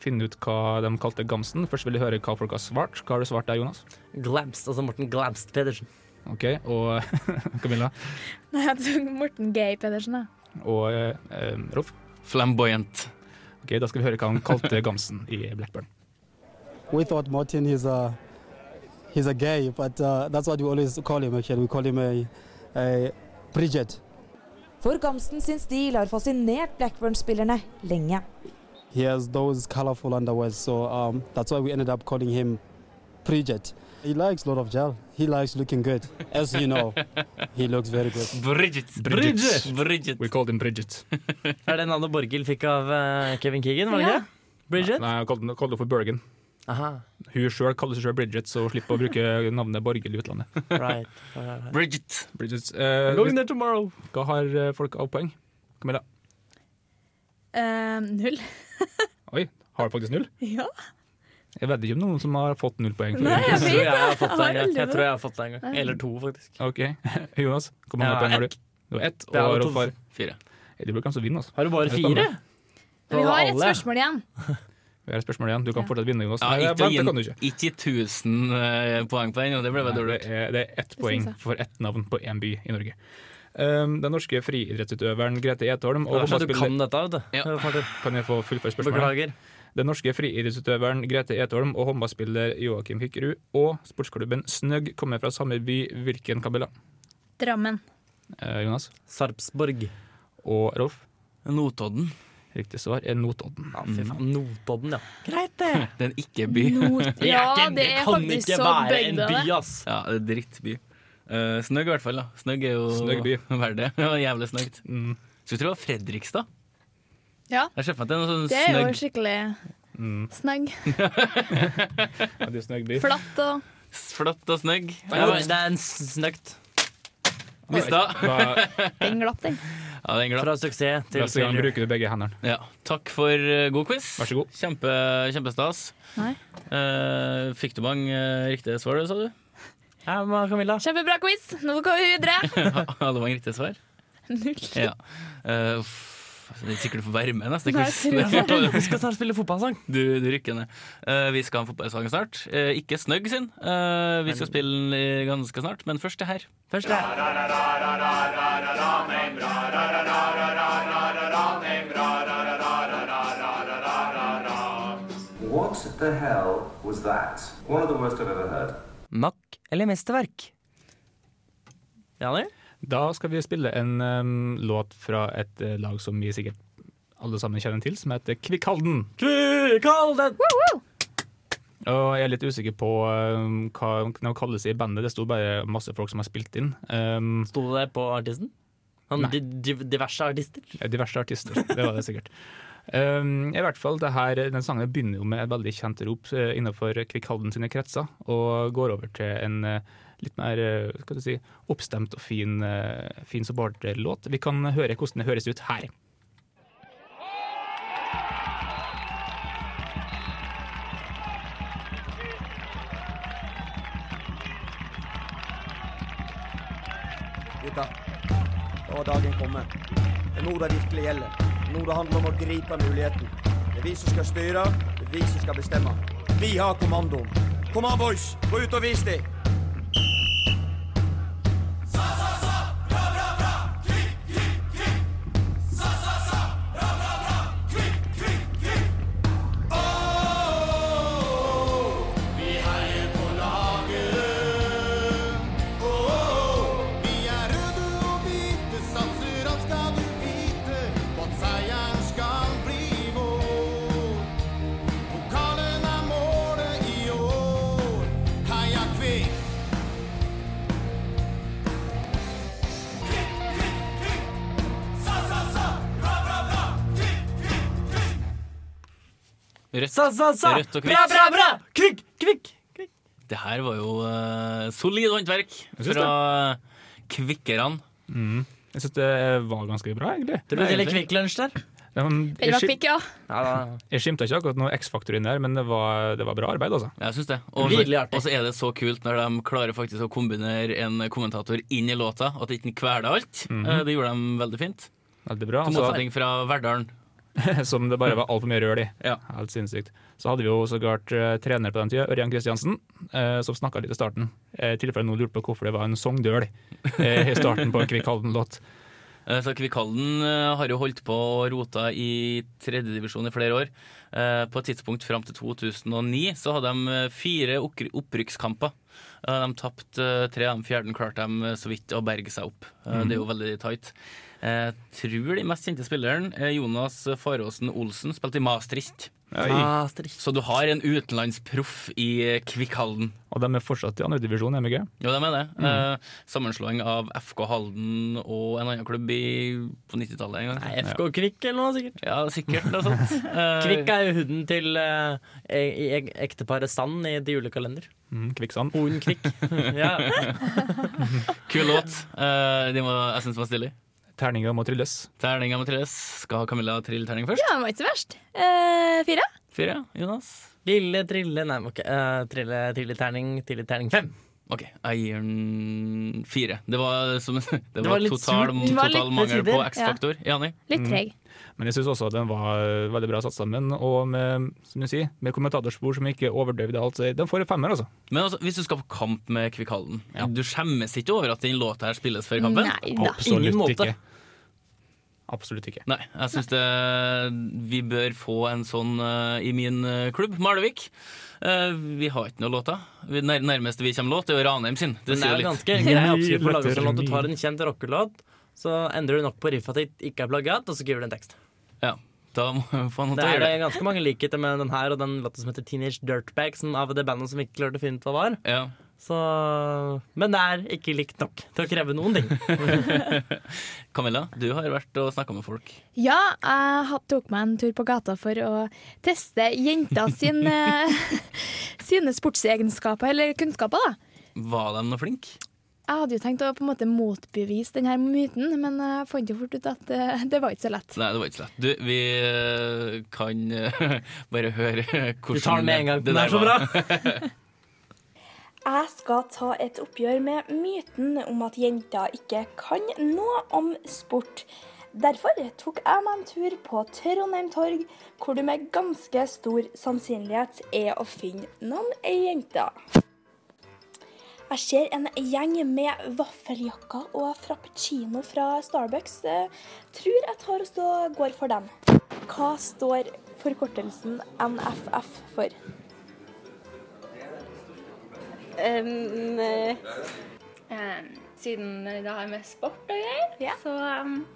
[SPEAKER 6] finne ut hva de kalte Gamsen. Først vil jeg høre hva folk har svart. Hva har du svart der, Jonas?
[SPEAKER 7] Glamst, altså Morten Glamst Pedersen.
[SPEAKER 6] OK, og Camilla
[SPEAKER 9] Nei, jeg tok Morten Gay Pedersen, jeg.
[SPEAKER 6] og eh, um, Rolf.
[SPEAKER 5] Flamboyant.
[SPEAKER 6] Ok, Da skal vi høre hva han kalte Gamsen i Blackburn.
[SPEAKER 2] We thought Martin he's a he's a gay, but uh, that's what we always call him. Actually, we call him a, a Bridget.
[SPEAKER 11] For Gamsten sin stil har fascinert Blackburn-spillerne lenge.
[SPEAKER 2] He has those colorful underwears, so um, that's why we ended up calling him Bridget. He likes a lot of gel. He likes looking good, as you know. he looks very good.
[SPEAKER 5] Bridget.
[SPEAKER 6] Bridget.
[SPEAKER 5] Bridget.
[SPEAKER 6] We called him Bridget.
[SPEAKER 7] Er det navnet Borghild fikk av eh, Kevin Keegan, var det
[SPEAKER 9] Ja.
[SPEAKER 7] ikke? det? Bridget?
[SPEAKER 6] Nei, jeg kalte han- kalte henne for Bergen.
[SPEAKER 7] Aha,
[SPEAKER 6] Hun selv kaller seg selv Bridget, så hun slipper å bruke navnet Borghild i utlandet.
[SPEAKER 7] right. right, right, right.
[SPEAKER 5] Bridget.
[SPEAKER 6] Bridget, eh,
[SPEAKER 7] Going there tomorrow.
[SPEAKER 6] Hva har eh, folk av poeng? Camilla?
[SPEAKER 9] Eh, null.
[SPEAKER 6] Oi, har du faktisk null?
[SPEAKER 9] Ja.
[SPEAKER 6] Jeg vet ikke om noen som har fått null poeng. for
[SPEAKER 9] Nei,
[SPEAKER 6] det.
[SPEAKER 9] jeg
[SPEAKER 7] Jeg tror jeg
[SPEAKER 9] vet
[SPEAKER 7] har fått det en gang.
[SPEAKER 9] det. Jeg
[SPEAKER 7] Jeg tror
[SPEAKER 9] har
[SPEAKER 7] jeg har fått det en gang. Eller to, faktisk.
[SPEAKER 6] Ok, Jonas, hvor mange
[SPEAKER 7] Ja,
[SPEAKER 6] poeng har
[SPEAKER 7] ett.
[SPEAKER 6] du? Det var ett,
[SPEAKER 7] Det er
[SPEAKER 6] og
[SPEAKER 7] to-
[SPEAKER 6] Rolf har
[SPEAKER 5] Fire.
[SPEAKER 6] Eh, Du burde kanskje vinne, altså.
[SPEAKER 7] Har du bare
[SPEAKER 6] Det er
[SPEAKER 7] fire?
[SPEAKER 6] spennende.
[SPEAKER 9] Vi har et
[SPEAKER 7] Alle.
[SPEAKER 9] spørsmål igjen.
[SPEAKER 6] Vi har et spørsmål igjen. Du kan
[SPEAKER 9] Ja.
[SPEAKER 6] fortsatt vinne, Jonas.
[SPEAKER 5] Ja,
[SPEAKER 6] Nei,
[SPEAKER 5] ikke,
[SPEAKER 6] vent, det
[SPEAKER 5] å
[SPEAKER 6] kan du
[SPEAKER 5] gi-
[SPEAKER 6] ikke.
[SPEAKER 5] ikke 1000 eh, poeng på den, og det ble
[SPEAKER 6] Nei,
[SPEAKER 5] bare dårlig.
[SPEAKER 6] Det er, det er ett
[SPEAKER 9] synes
[SPEAKER 6] poeng
[SPEAKER 9] jeg.
[SPEAKER 6] for ett navn på én by i Norge. Um, den norske friidrettsutøveren Grete Etholm og
[SPEAKER 7] Det er sånn at du
[SPEAKER 6] håndballspiller-
[SPEAKER 7] kan dette, vet du.
[SPEAKER 5] Ja.
[SPEAKER 7] Martin.
[SPEAKER 6] Kan jeg få fullføre spørsmålet?
[SPEAKER 7] Beklager.
[SPEAKER 6] Den norske friidrettsutøveren Grete Etholm og håndballspiller Joakim Hykkerud og sportsklubben Snøgg kommer fra samme by. Hvilken, Camilla?
[SPEAKER 9] Drammen.
[SPEAKER 6] Eh, Jonas?
[SPEAKER 7] Sarpsborg.
[SPEAKER 6] Og Rolf?
[SPEAKER 5] Notodden.
[SPEAKER 6] Riktig svar er Notodden.
[SPEAKER 7] Ja, fy faen. Notodden, ja.
[SPEAKER 9] Greit, det.
[SPEAKER 5] Det er en ikke-by.
[SPEAKER 9] Ja, det er
[SPEAKER 7] kan
[SPEAKER 9] faktisk
[SPEAKER 7] ikke
[SPEAKER 9] så
[SPEAKER 7] være en
[SPEAKER 9] bygda,
[SPEAKER 7] by,
[SPEAKER 9] det.
[SPEAKER 7] ass.
[SPEAKER 5] Ja, det er drittby. Eh, snøgg i hvert fall. da Snøgg er jo
[SPEAKER 6] Snøgg by.
[SPEAKER 5] verdt det. Ja, jævlig snøgt.
[SPEAKER 6] Mm.
[SPEAKER 5] Skulle tro det var Fredrikstad.
[SPEAKER 9] Ja.
[SPEAKER 5] Jeg ser for meg at det er noe sånn
[SPEAKER 9] Det er jo
[SPEAKER 5] snøgg,
[SPEAKER 9] skikkelig
[SPEAKER 6] Mm.
[SPEAKER 9] snøgg.
[SPEAKER 6] Ja, det er Snøgg by.
[SPEAKER 9] Flatt og
[SPEAKER 5] flatt og snøgg.
[SPEAKER 7] Det er, det er en snøkt.
[SPEAKER 5] Mista.
[SPEAKER 6] Da,
[SPEAKER 9] Den glapp, den.
[SPEAKER 5] Ja, den er glad.
[SPEAKER 7] Fra suksess til
[SPEAKER 6] neste gang
[SPEAKER 7] failure.
[SPEAKER 6] bruker du begge hendene.
[SPEAKER 5] Ja. Takk for eh, god quiz.
[SPEAKER 6] Vær så god.
[SPEAKER 5] Kjempe, kjempestas.
[SPEAKER 9] Nei.
[SPEAKER 5] Eh, fikk du mange eh, riktige svar, sa du?
[SPEAKER 7] Ja, men Camilla.
[SPEAKER 9] Kjempebra quiz. Nå går vi videre.
[SPEAKER 5] Alle mange riktige svar?
[SPEAKER 9] Null.
[SPEAKER 5] Ja. Eh, uff, altså, det er sikkert du får være med neste
[SPEAKER 9] Nei,
[SPEAKER 5] quiz.
[SPEAKER 9] jeg
[SPEAKER 7] Vi skal snart spille fotballsang.
[SPEAKER 5] Du, du rykker ned. Eh, vi skal ha en fotballsang snart. Eh, ikke Snøgg sin. Eh, vi skal spille den eh, ganske snart, men først det her.
[SPEAKER 7] Først det.
[SPEAKER 12] What the hell was that? One of the worst I've ever heard.
[SPEAKER 7] Mack eller mesterverk? Jani?
[SPEAKER 6] Da skal vi spille en em, låt fra et eh, lag som vi sikkert alle sammen kjenner til, som heter Kvikkhalden.
[SPEAKER 7] Kall den!
[SPEAKER 6] Og jeg er litt usikker på em, hva de kalles i bandet. Det sto bare masse folk som har spilt inn. Em,
[SPEAKER 7] Sto det på artisten? Han, Sånn di, di, diverse artister?
[SPEAKER 6] Ja, Diverse artister, det var det sikkert. Um, I hvert fall, det her, den sangen begynner jo med et veldig kjent rop eh, innenfor Kvikkhalden sine kretser, og går over til en eh, litt mer eh, hva skal du si, oppstemt og fin, eh, fin supporterlåt. Vi kan høre hvordan det høres ut her.
[SPEAKER 13] Gutta, da har dagen kommet. Det er nå det virkelig gjelder. Nå det handler om å gripe muligheten. Det er vi som skal styre, det er vi som skal bestemme. Vi har kommandoen. Kom an, boys! Gå ut og vis dem!
[SPEAKER 14] Vi heier på laget. Oh, Vi er røde og hvite, satser alt skal du vite. På at seieren skal bli vår. Pokalen er målet i år. Heia Kvikk! Kvikk, kvikk, kvikk! Sa, sa, sa! Bra, bra, bra! Kvikk, kvikk, kvikk!
[SPEAKER 5] Rødt,
[SPEAKER 7] Sa, sa, sa!
[SPEAKER 5] rødt og
[SPEAKER 7] Bra,
[SPEAKER 5] hvitt.
[SPEAKER 7] bra, bra! Kvikk, kvikk!
[SPEAKER 5] Det her var jo eh, solid håndverk
[SPEAKER 6] Jeg syns
[SPEAKER 5] fra kvikkerne.
[SPEAKER 6] Mm. Jeg syns det var ganske bra, egentlig.
[SPEAKER 5] Det ble litt
[SPEAKER 7] kvikklunsj der.
[SPEAKER 9] Veldig bra pikk, ja.
[SPEAKER 6] Jeg skimta ikke akkurat noe X-faktor inn der, men det var, det var bra arbeid, altså.
[SPEAKER 5] Jeg syns det. Og
[SPEAKER 6] Virkelig
[SPEAKER 5] så, og så er det så kult når de klarer faktisk å kombinere en kommentator inn i låta, at ikke den kveler alt.
[SPEAKER 6] Mhm.
[SPEAKER 5] Eh, Det gjorde de veldig fint.
[SPEAKER 6] Veldig bra.
[SPEAKER 5] Til
[SPEAKER 6] altså.
[SPEAKER 5] motsetning fra Verdalen.
[SPEAKER 6] som det bare var altfor mye røl i. Helt sinnssykt. Så hadde vi jo sågar eh, trener på den tida, Ørjan Kristiansen, eh, som snakka litt i starten. Eh, I tilfelle noen lurte på hvorfor det var en songdøl eh, i starten på en Kvikk Halden-låt.
[SPEAKER 5] Eh, Så Kvikalden eh, har jo holdt på og rota i tredjedivisjon i flere år. Eh, På et tidspunkt fram til 2009 så hadde de eh, fire okkry- opprykkskamper. Eh, De tapte eh, tre av de fjerde klarte de eh, så vidt å berge seg opp. Eh,
[SPEAKER 7] Mhm.
[SPEAKER 5] Det er jo veldig tight. Jeg tror de mest kjente spilleren, eh, Jonas Faråsen Olsen, spilte i Maastricht.
[SPEAKER 6] Oi.
[SPEAKER 5] Så du har en utenlandsproff i Kvikkhalden.
[SPEAKER 6] Og de er fortsatt i andredivisjon, MG.
[SPEAKER 5] Jo, de er det.
[SPEAKER 7] Mhm.
[SPEAKER 6] Mm.
[SPEAKER 5] Eh, sammenslåing av FK Halden og en annen klubb i, på 90-tallet en gang.
[SPEAKER 7] Nei, FK Kvikk eller noe sikkert.
[SPEAKER 5] Ja, sikkert noe sånt. Eh,
[SPEAKER 7] Kvikk er jo huden til eh, e e ekteparet Sand i The Julekalender.
[SPEAKER 6] Mm, Kvikksand.
[SPEAKER 7] Hoden Kvikk. ja.
[SPEAKER 5] Kul låt. Eh, de må, jeg syns den var stilig.
[SPEAKER 6] Terninga må trilles.
[SPEAKER 5] Terninga må trilles. Skal Camilla trille terning først?
[SPEAKER 9] Ja, den var ikke så verst. Eh, fire?
[SPEAKER 5] Fire, Jonas?
[SPEAKER 7] Lille trille Nei, ok. eh, trille, trille terning, trille terning fem.
[SPEAKER 5] OK, jeg gir den fire. Det var, som, det var,
[SPEAKER 7] var litt
[SPEAKER 5] total,
[SPEAKER 7] surt. Det var
[SPEAKER 5] total
[SPEAKER 7] litt
[SPEAKER 5] mangel på
[SPEAKER 7] tider,
[SPEAKER 5] X-faktor.
[SPEAKER 7] ja.
[SPEAKER 5] Enig?
[SPEAKER 9] Litt treg.
[SPEAKER 6] Men jeg syns også at den var eh, veldig bra satt sammen, og med, som du sier, med kommentatorspor som ikke overdøvde alt. Så den får en femmer, altså.
[SPEAKER 5] Men altså, hvis du skal på kamp med Kvikkhalden, du skjemmes ikke over at den låta her spilles før kampen?
[SPEAKER 9] Nei da.
[SPEAKER 6] Absolutt ikke. Absolutt ikke.
[SPEAKER 5] Nei, jeg syns det Vi bør få en sånn eh, i min eh, klubb, Malvik. Eh, vi har ikke noen låter. Vi, nær, nærmeste vi kommer låt, er jo Ranheim sin. Det
[SPEAKER 7] Den
[SPEAKER 5] sier
[SPEAKER 7] er
[SPEAKER 5] litt.
[SPEAKER 7] jo ganske grei oppskrift på å lage sånn at du tar en kjent rockelåt, så endrer du nok på riffet at det ikke er plagiat, og så skriver du en tekst.
[SPEAKER 5] Ja, da må vi få noe
[SPEAKER 7] Det
[SPEAKER 5] til å
[SPEAKER 7] er
[SPEAKER 5] gjøre
[SPEAKER 7] det
[SPEAKER 5] det.
[SPEAKER 7] ganske mange likheter med den her og den låta som heter Teenage Dirtbag, som av det bandet som vi ikke klarte å finne ut hva var.
[SPEAKER 5] Ja.
[SPEAKER 7] Så, men det er ikke likt nok til å kreve noen ting.
[SPEAKER 5] Camilla, du har vært og snakka med folk.
[SPEAKER 9] Ja, jeg ha- tok meg en tur på gata for å teste jenta sin, eh, sine sportsegenskaper, eller kunnskaper, da.
[SPEAKER 5] Var de noe flink?
[SPEAKER 9] Jeg hadde jo tenkt å på en måte motbevise denne myten, men jeg fant jo fort ut at eh, det var ikke så lett.
[SPEAKER 5] Nei, det var ikke så lett. Du, vi eh, kan eh, bare høre hvordan
[SPEAKER 7] tar den med en gang, den er så
[SPEAKER 5] bra!
[SPEAKER 15] Jeg skal ta et oppgjør med myten om at jenter ikke kan noe om sport. Derfor tok jeg meg en tur på Trondheim torg, hvor du med ganske stor sannsynlighet er å finne noen jenter. Jeg ser en gjeng med vaffeljakker og frappuccino fra Starbucks. Eh, Tror jeg tar og stå, går for dem. Hva står forkortelsen NFF for?
[SPEAKER 16] Um, eh, eh, siden det har med sport å gjøre, så um,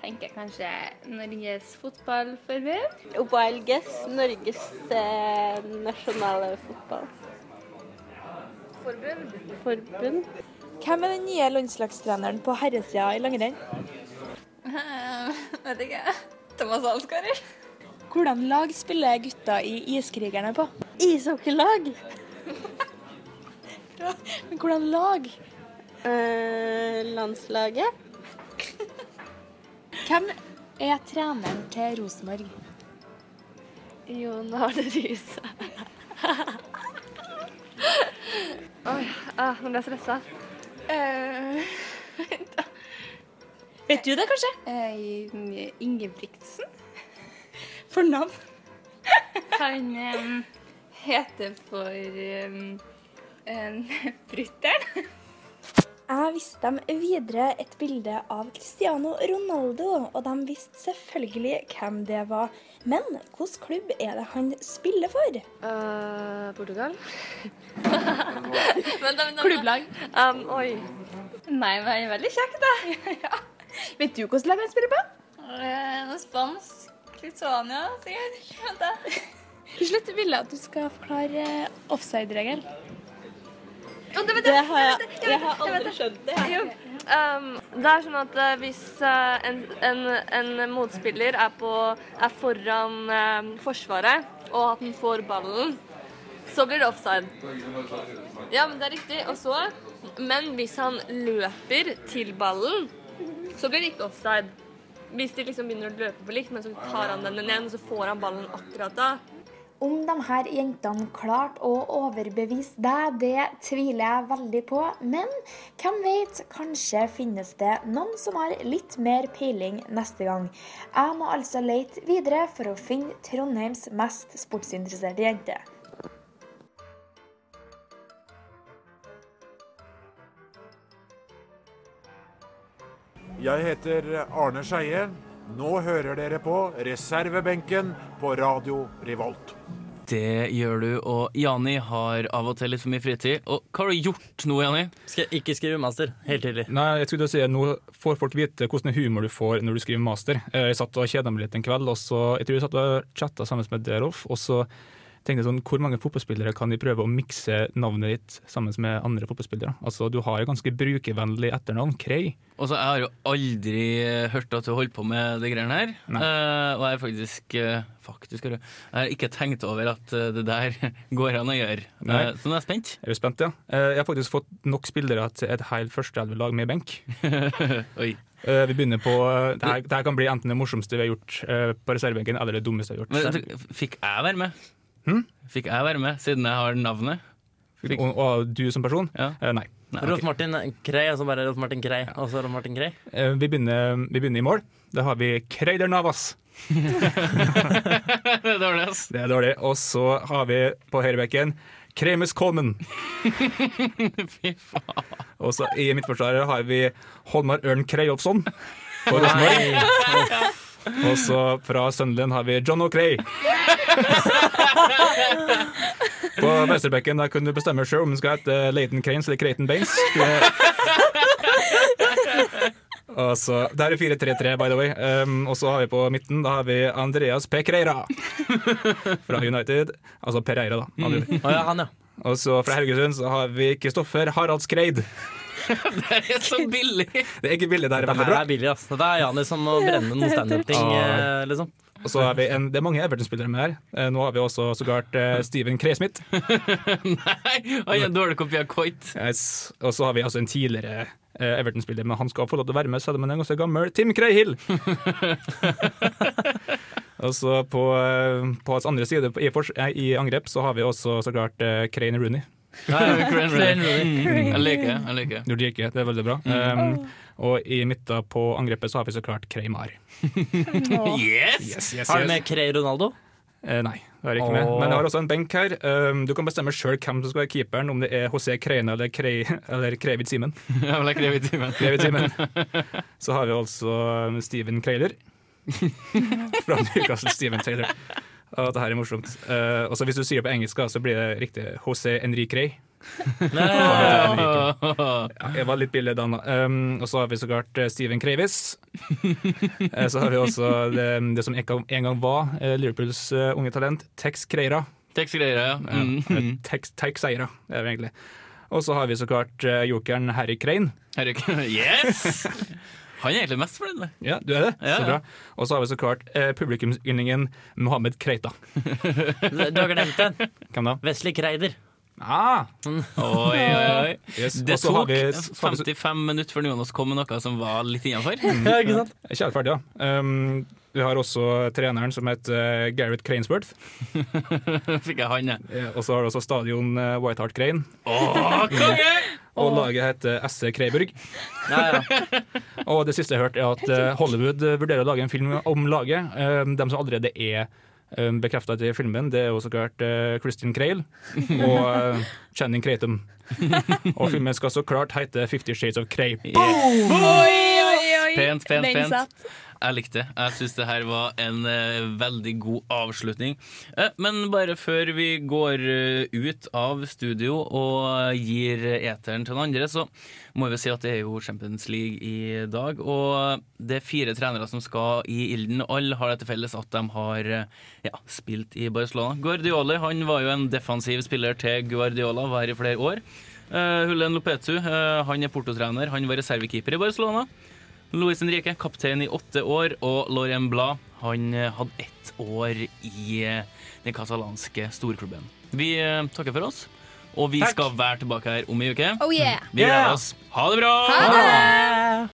[SPEAKER 16] tenker jeg kanskje Norges fotballforbund. OBLGS, Norges eh, nasjonale fotballforbund.
[SPEAKER 15] Hvem er den nye landslagstreneren på herresida i langrenn?
[SPEAKER 16] Vet ikke. Thomas Alsgaard.
[SPEAKER 15] Hvordan lag spiller gutta i Iskrigerne på? Ishockeylag. Men hvordan lag?
[SPEAKER 16] Eh, landslaget.
[SPEAKER 9] Hvem er treneren til Rosenborg?
[SPEAKER 16] Jon Arne Riise. Oi, ah, nå ble jeg stressa. Eh,
[SPEAKER 15] Vet du det, kanskje?
[SPEAKER 16] Ingebrigtsen.
[SPEAKER 15] For navn?
[SPEAKER 16] Han em, heter for um, Brytteren.
[SPEAKER 15] Jeg viste dem videre et bilde av Cristiano Ronaldo, og de visste selvfølgelig hvem det var. Men hvilken klubb er det han spiller for?
[SPEAKER 9] Eh,
[SPEAKER 16] Portugal.
[SPEAKER 15] Klubblag.
[SPEAKER 16] Um, oi. Nei, men han er veldig kjekk, da.
[SPEAKER 15] Vet du hvilket lag han spiller på?
[SPEAKER 16] Noe Eh, spansk. Kristiania, sikkert. Vent da.
[SPEAKER 9] Til slutt vil jeg at du skal forklare eh, offside-regelen.
[SPEAKER 16] Det,
[SPEAKER 9] har jeg- jeg har aldri
[SPEAKER 16] skjønt det. Jo. Um, det er sånn at eh, hvis eh, en, en, en motspiller er, på, er foran eh, forsvaret, og at den får ballen, så blir det offside. Ja, men det er riktig. Og så Men hvis han løper til ballen, så blir det ikke offside. Hvis de liksom begynner å løpe på likt, men så tar han den igjen, og så får han ballen akkurat da.
[SPEAKER 9] Om de her jentene klarte å overbevise deg, det tviler jeg veldig på. Men hvem vet, kanskje finnes det noen som har litt mer peiling neste gang. Jeg må altså lete videre for å finne Trondheims mest sportsinteresserte jente.
[SPEAKER 17] Jeg heter Arne Skeie. Nå hører dere på reservebenken på Radio Revolt.
[SPEAKER 5] Det gjør du, og Jani har av og til litt for mye fritid. Og hva har du gjort nå, Jani?
[SPEAKER 7] Skal jeg ikke skrive master. Helt tidlig.
[SPEAKER 6] Nei, jeg skulle til å si at Nå får folk vite hvordan humor du får når du skriver master. Eh, Jeg satt og kjeda meg litt en kveld, og så jeg tror jeg satt og chatta sammen med Deroff. Og så tenkte jeg sånn, hvor mange fotballspillere kan de prøve å mikse navnet ditt sammen med andre fotballspillere? Altså, Du har jo ganske brukervennlig etternavn, Krei.
[SPEAKER 5] Og så Altså, Jeg har jo aldri eh, hørt at du holdt på med de greiene her. Eh, og jeg er faktisk, eh, faktisk har jeg jeg har ikke tenkt over at eh, det der går an å gjøre.
[SPEAKER 6] Nei.
[SPEAKER 5] Eh, så nå er jeg spent.
[SPEAKER 6] Er du spent, ja? Eh, Jeg har faktisk fått nok spillere til et helt førsteelverlag med benk.
[SPEAKER 5] Oi.
[SPEAKER 6] Eh, Vi begynner på det her, det her kan bli enten det morsomste vi har gjort eh, på reservebenken, eller det dummeste vi har
[SPEAKER 5] Men, eh,
[SPEAKER 6] gjort.
[SPEAKER 5] du, fikk jeg være med?
[SPEAKER 6] Hm?
[SPEAKER 5] Fikk jeg være med, siden jeg har navnet?
[SPEAKER 6] Og, og du som person? Eh, Nei.
[SPEAKER 7] Rolf Martin Krei, og så bare Rolf Martin Krei. Og så Rolf Martin Krei.
[SPEAKER 6] Eh, Vi begynner, vi begynner i mål. Da har vi Kreider Navas.
[SPEAKER 5] det er dårlig, ass.
[SPEAKER 6] Det er dårlig. Og så har vi på høyrebekken Kremus Kolmen. Og så i midtforsvaret har vi Holmar Ørn Krejolfsson. på Rosenborg. Og så fra Sunderland har vi John O'Cray. På venstrebekken der kunne du bestemme sjøl om du skal hete eh, Leighton Cranes eller Creighton Baines. Og så, Det her er 4-3-3, by the way. Um, og så har vi på midten da har vi Andreas Pereira fra United. Altså Pereira, da. med
[SPEAKER 7] Mm.
[SPEAKER 6] andre ord.
[SPEAKER 7] Å ja, han, ja.
[SPEAKER 6] Og så fra Haugesund så har vi Kristoffer Haraldskreid.
[SPEAKER 5] Det er så billig!
[SPEAKER 6] Det er ikke billig, det her er
[SPEAKER 7] Dette
[SPEAKER 6] veldig
[SPEAKER 7] her
[SPEAKER 6] bra.
[SPEAKER 7] er billig, ass. Dette er Jani som må brenne noen standup-ting, eh,
[SPEAKER 6] Ah.
[SPEAKER 7] liksom.
[SPEAKER 6] Og så har vi en, Det er mange Everton-spillere med her. Eh, Nå har vi også sågar eh, Steven Kreismith.
[SPEAKER 5] Oi, en dårlig kopi av Coit.
[SPEAKER 6] Yes. Og så har vi altså en tidligere eh, Everton-spiller, men han skal få lov til å være med, selv om han er ganske gammel. Tim Cray-Hill! og så på, eh, på hans andre side, på- i, fors- eh, i angrep, så har vi også så klart eh, Crane Rooney.
[SPEAKER 5] Ja, ja, Crane Rooney. Crane Rooney. Mm. Jeg liker det, jeg liker det.
[SPEAKER 6] Du liker det, det er veldig bra.
[SPEAKER 5] Mm.
[SPEAKER 6] Um, og i midten på angrepet så har vi så klart Kreymar.
[SPEAKER 7] Yes! Har du med Krei Ronaldo?
[SPEAKER 6] Eh, nei, det har jeg ikke med.
[SPEAKER 7] Åh.
[SPEAKER 6] Men jeg har også en benk her. Um, du kan bestemme sjøl hvem som skal være keeperen, om det er José Kreine eller, Krei, eller Krevid Simen.
[SPEAKER 5] Ja, vel, det er Krevid Simen.
[SPEAKER 6] Krevid Simen. Så har vi altså um, Steven Kreiler. Fra Newcastle Steven Taylor. Og det her er morsomt. Eh, og så hvis du sier det på engelsk, da, så blir det riktig José Henri Crey. ja, jeg var litt billig da. nå. Um, og så har vi så klart eh, Steven Kravis. Eh, Så har vi også det, det som ikke en gang var eh, Liverpools eh, unge talent, Tex Creira.
[SPEAKER 5] Tex Creira, ja. Mm.
[SPEAKER 6] eh, Tex, Tex Eira, det er det egentlig. Og så har vi så klart eh, jokeren Harry Crane.
[SPEAKER 5] Herregud, yes! Han er egentlig mest fornøyd med.
[SPEAKER 6] Ja, du er det?
[SPEAKER 5] Ja,
[SPEAKER 6] Så
[SPEAKER 5] ja.
[SPEAKER 6] bra. Og så har vi så klart eh, publikumsyndlingen Mohammed Kreita.
[SPEAKER 7] Du har glemt den.
[SPEAKER 6] Hvem da?
[SPEAKER 7] Vesle Kreider.
[SPEAKER 6] Ah.
[SPEAKER 5] Oi, oi, oi.
[SPEAKER 6] Yes,
[SPEAKER 5] Det
[SPEAKER 6] og så har
[SPEAKER 5] tok
[SPEAKER 6] vi-
[SPEAKER 5] 55 minutter før Jonas kom med noe som var litt innafor.
[SPEAKER 6] Mm. Jeg er Ikke helt ferdig, ja. Um, vi har også treneren som heter eh, Gareth Cranesworth.
[SPEAKER 5] Fikk jeg han, jeg.
[SPEAKER 6] Eh, Og så har du også stadion eh, White Hart Crane.
[SPEAKER 5] Åh, konge!
[SPEAKER 6] Og laget heter SC Kreiburg. og det siste jeg hørte, er at eh, Hollywood eh, vurderer å lage en film om laget. Eh, De som allerede er bekrefta til filmen, det er jo så klart eh, Christian Crale og eh, Channing Kratom. og filmen skal så klart hete 'Fifty Shades of Cray'.
[SPEAKER 5] Boom!
[SPEAKER 4] oi, oi.
[SPEAKER 5] Pent, pent,
[SPEAKER 4] Lenge satt.
[SPEAKER 5] pent. Jeg likte det. Jeg syns det her var en eh, veldig god avslutning. Eh, men bare før vi går eh, ut av studio og gir eteren til den andre, så må vi si at det er jo Champions League i dag. Og det er fire trenere som skal i ilden. Alle har det til felles at de har eh, ja, spilt i Barcelona. Guardioli han var jo en defensiv spiller til Guardiola, var her i flere år. Eh, Julen Lopetu eh, han er portotrener. Han var reservekeeper i Barcelona. Luis Henrique, kaptein i åtte år, og Lorien Blad han eh, hadde ett år i eh, den katalanske storklubben. Vi eh, takker for oss, og vi skal være tilbake her om en uke.
[SPEAKER 4] Oh yeah.
[SPEAKER 5] Vi gleder oss. Ha det bra!
[SPEAKER 4] Ha det!